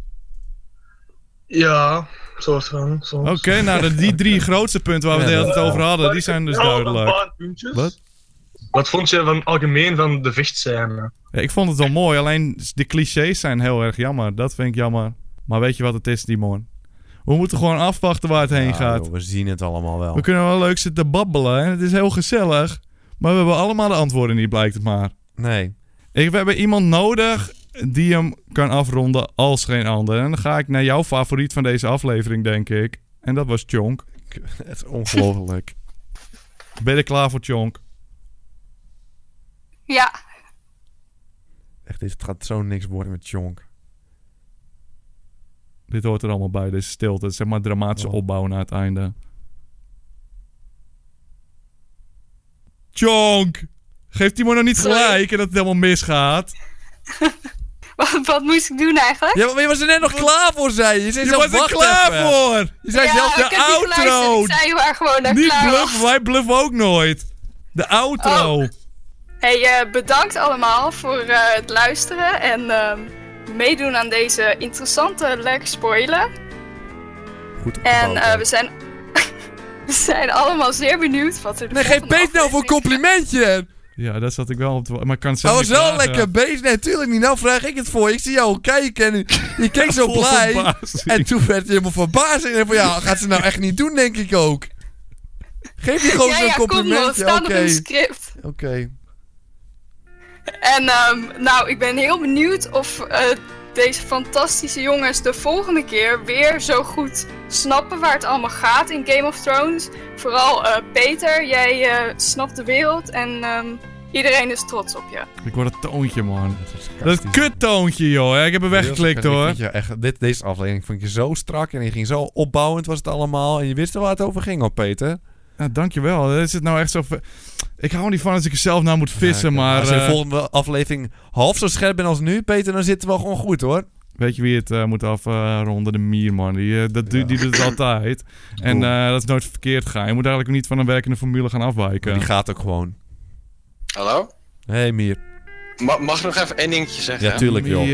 Speaker 6: Ja, soort van. soms.
Speaker 1: Oké, nou de- die drie grootste punten waar we het de hele tijd over hadden, die zijn dus
Speaker 6: Ja, Een
Speaker 1: duidelijk.
Speaker 6: paar puntjes.
Speaker 1: Wat?
Speaker 6: Wat vond je van algemeen van de vechtscène?
Speaker 1: Ja, ik vond het wel mooi, alleen de clichés zijn heel erg jammer. Dat vind ik jammer. Maar weet je wat het is, Dimon? We moeten gewoon afwachten waar het heen
Speaker 2: Ja,
Speaker 1: gaat.
Speaker 2: Nou, joh, we zien het allemaal wel.
Speaker 1: We kunnen wel leuk zitten babbelen en het is heel gezellig. Maar we hebben allemaal de antwoorden niet, blijkt het maar.
Speaker 2: Nee.
Speaker 1: Ik, we hebben iemand nodig die hem kan afronden als geen ander. En dan ga ik naar jouw favoriet van deze aflevering, denk ik. En dat was Chonk.
Speaker 2: Het is ongelooflijk.
Speaker 1: Ben je er klaar voor, Chonk?
Speaker 19: Ja,
Speaker 2: Echt, dit gaat zo niks worden met Jonk.
Speaker 1: Dit hoort er allemaal bij, deze stilte. Zeg maar dramatische
Speaker 2: Oh.
Speaker 1: opbouw naar het einde. Chonk! Geeft Timo nou niet gelijk en dat het helemaal misgaat?
Speaker 19: wat, wat moest ik doen eigenlijk?
Speaker 2: Ja, maar je was er net nog klaar voor, zei je. Je, zei
Speaker 1: Je
Speaker 2: zelf,
Speaker 1: was er
Speaker 2: "Wacht
Speaker 1: klaar
Speaker 2: even."
Speaker 1: voor.
Speaker 2: Je zei
Speaker 19: Ja,
Speaker 2: zelf
Speaker 19: ik
Speaker 2: de
Speaker 19: heb niet geluisterd.
Speaker 2: outro.
Speaker 19: Ik zei waar gewoon naar
Speaker 1: Niet
Speaker 19: klaar was.
Speaker 1: bluffen, wij bluffen ook nooit. De outro.
Speaker 2: Oh.
Speaker 19: Hey, eh, bedankt allemaal voor eh, het luisteren en ehm, meedoen aan deze interessante lek spoiler.
Speaker 2: Goed
Speaker 19: En eh, we zijn. we zijn allemaal zeer benieuwd wat er. de
Speaker 2: Nee, geef
Speaker 19: volgende
Speaker 2: Beet nou voor een complimentje.
Speaker 1: Ja, daar zat ik wel op te wa- Maar ik kan het
Speaker 2: Hij
Speaker 1: zelf
Speaker 2: was
Speaker 1: niet
Speaker 2: wel
Speaker 1: vragen.
Speaker 2: Oh, lekker bezig. Nee, tuurlijk niet. Nou vraag ik het voor. Ik zie jou al kijken en je keek zo
Speaker 1: Vol
Speaker 2: blij.
Speaker 1: verbazing.
Speaker 2: En toen werd hij helemaal verbaasd. En van ja, gaat ze nou echt niet doen, denk ik ook. Geef die gewoon
Speaker 19: Ja,
Speaker 2: zo'n
Speaker 19: ja, kom nog,
Speaker 2: complimentje.
Speaker 19: staan op
Speaker 2: Oké.
Speaker 19: een script.
Speaker 2: Oké.
Speaker 19: En ehm, nou, ik ben heel benieuwd of eh, deze fantastische jongens de volgende keer weer zo goed snappen waar het allemaal gaat in Game of Thrones. Vooral eh, Peter, jij eh, snapt de wereld en ehm, iedereen is trots op je.
Speaker 1: Ik word het toontje, man. Dat kuttoontje, joh. Ik heb hem weggeklikt,
Speaker 2: Ik
Speaker 1: hoor.
Speaker 2: vind je echt, dit, deze aflevering vond ik je zo strak en je ging zo opbouwend was het allemaal. En je wist wel waar het over ging, hoor, Peter.
Speaker 1: Nou, dankjewel. Dat Is het nou echt zo... ver- Ik hou er niet van als ik er zelf naar moet vissen, maar...
Speaker 2: Als je de
Speaker 1: eh,
Speaker 2: volgende aflevering half zo scherp bent als nu, Peter, dan zitten we gewoon goed, hoor.
Speaker 1: Weet je wie het eh, moet afronden? de mier, man. Die, eh, dat, du- die doet het altijd. En eh, dat is nooit verkeerd gaan. Je moet eigenlijk niet van een werkende formule gaan afwijken.
Speaker 2: Die gaat ook gewoon.
Speaker 14: Hallo?
Speaker 2: hey, Mier.
Speaker 14: Ma- mag ik nog even één dingetje zeggen?
Speaker 2: Ja, tuurlijk, joh.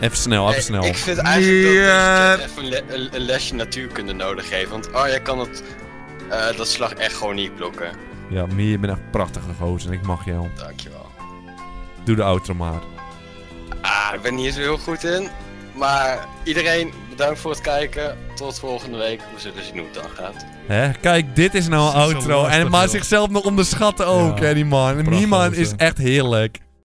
Speaker 2: Even snel, even
Speaker 14: Hey,
Speaker 2: snel.
Speaker 14: Ik vind eigenlijk dat deze chat even le- een, een lesje natuurkunde nodig heeft. Want Arja kan het, eh, dat slag echt gewoon niet blokken.
Speaker 2: Ja, Mier, je bent echt prachtig gegoten en ik mag jou.
Speaker 14: Dankjewel.
Speaker 2: Doe de outro maar.
Speaker 14: Ah, ik ben niet zo heel goed in. Maar iedereen, bedankt voor het kijken. Tot volgende week. We zullen zien hoe het dan gaat.
Speaker 2: Hè? Kijk, dit is nou
Speaker 1: Dat is
Speaker 2: een
Speaker 1: zo
Speaker 2: outro.
Speaker 1: lastig,
Speaker 2: en, maar
Speaker 1: joh.
Speaker 2: zichzelf nog onderschatten ook,
Speaker 1: Ja,
Speaker 2: hè, die man. Die
Speaker 1: prachtig,
Speaker 2: man
Speaker 1: hè.
Speaker 2: is echt heerlijk.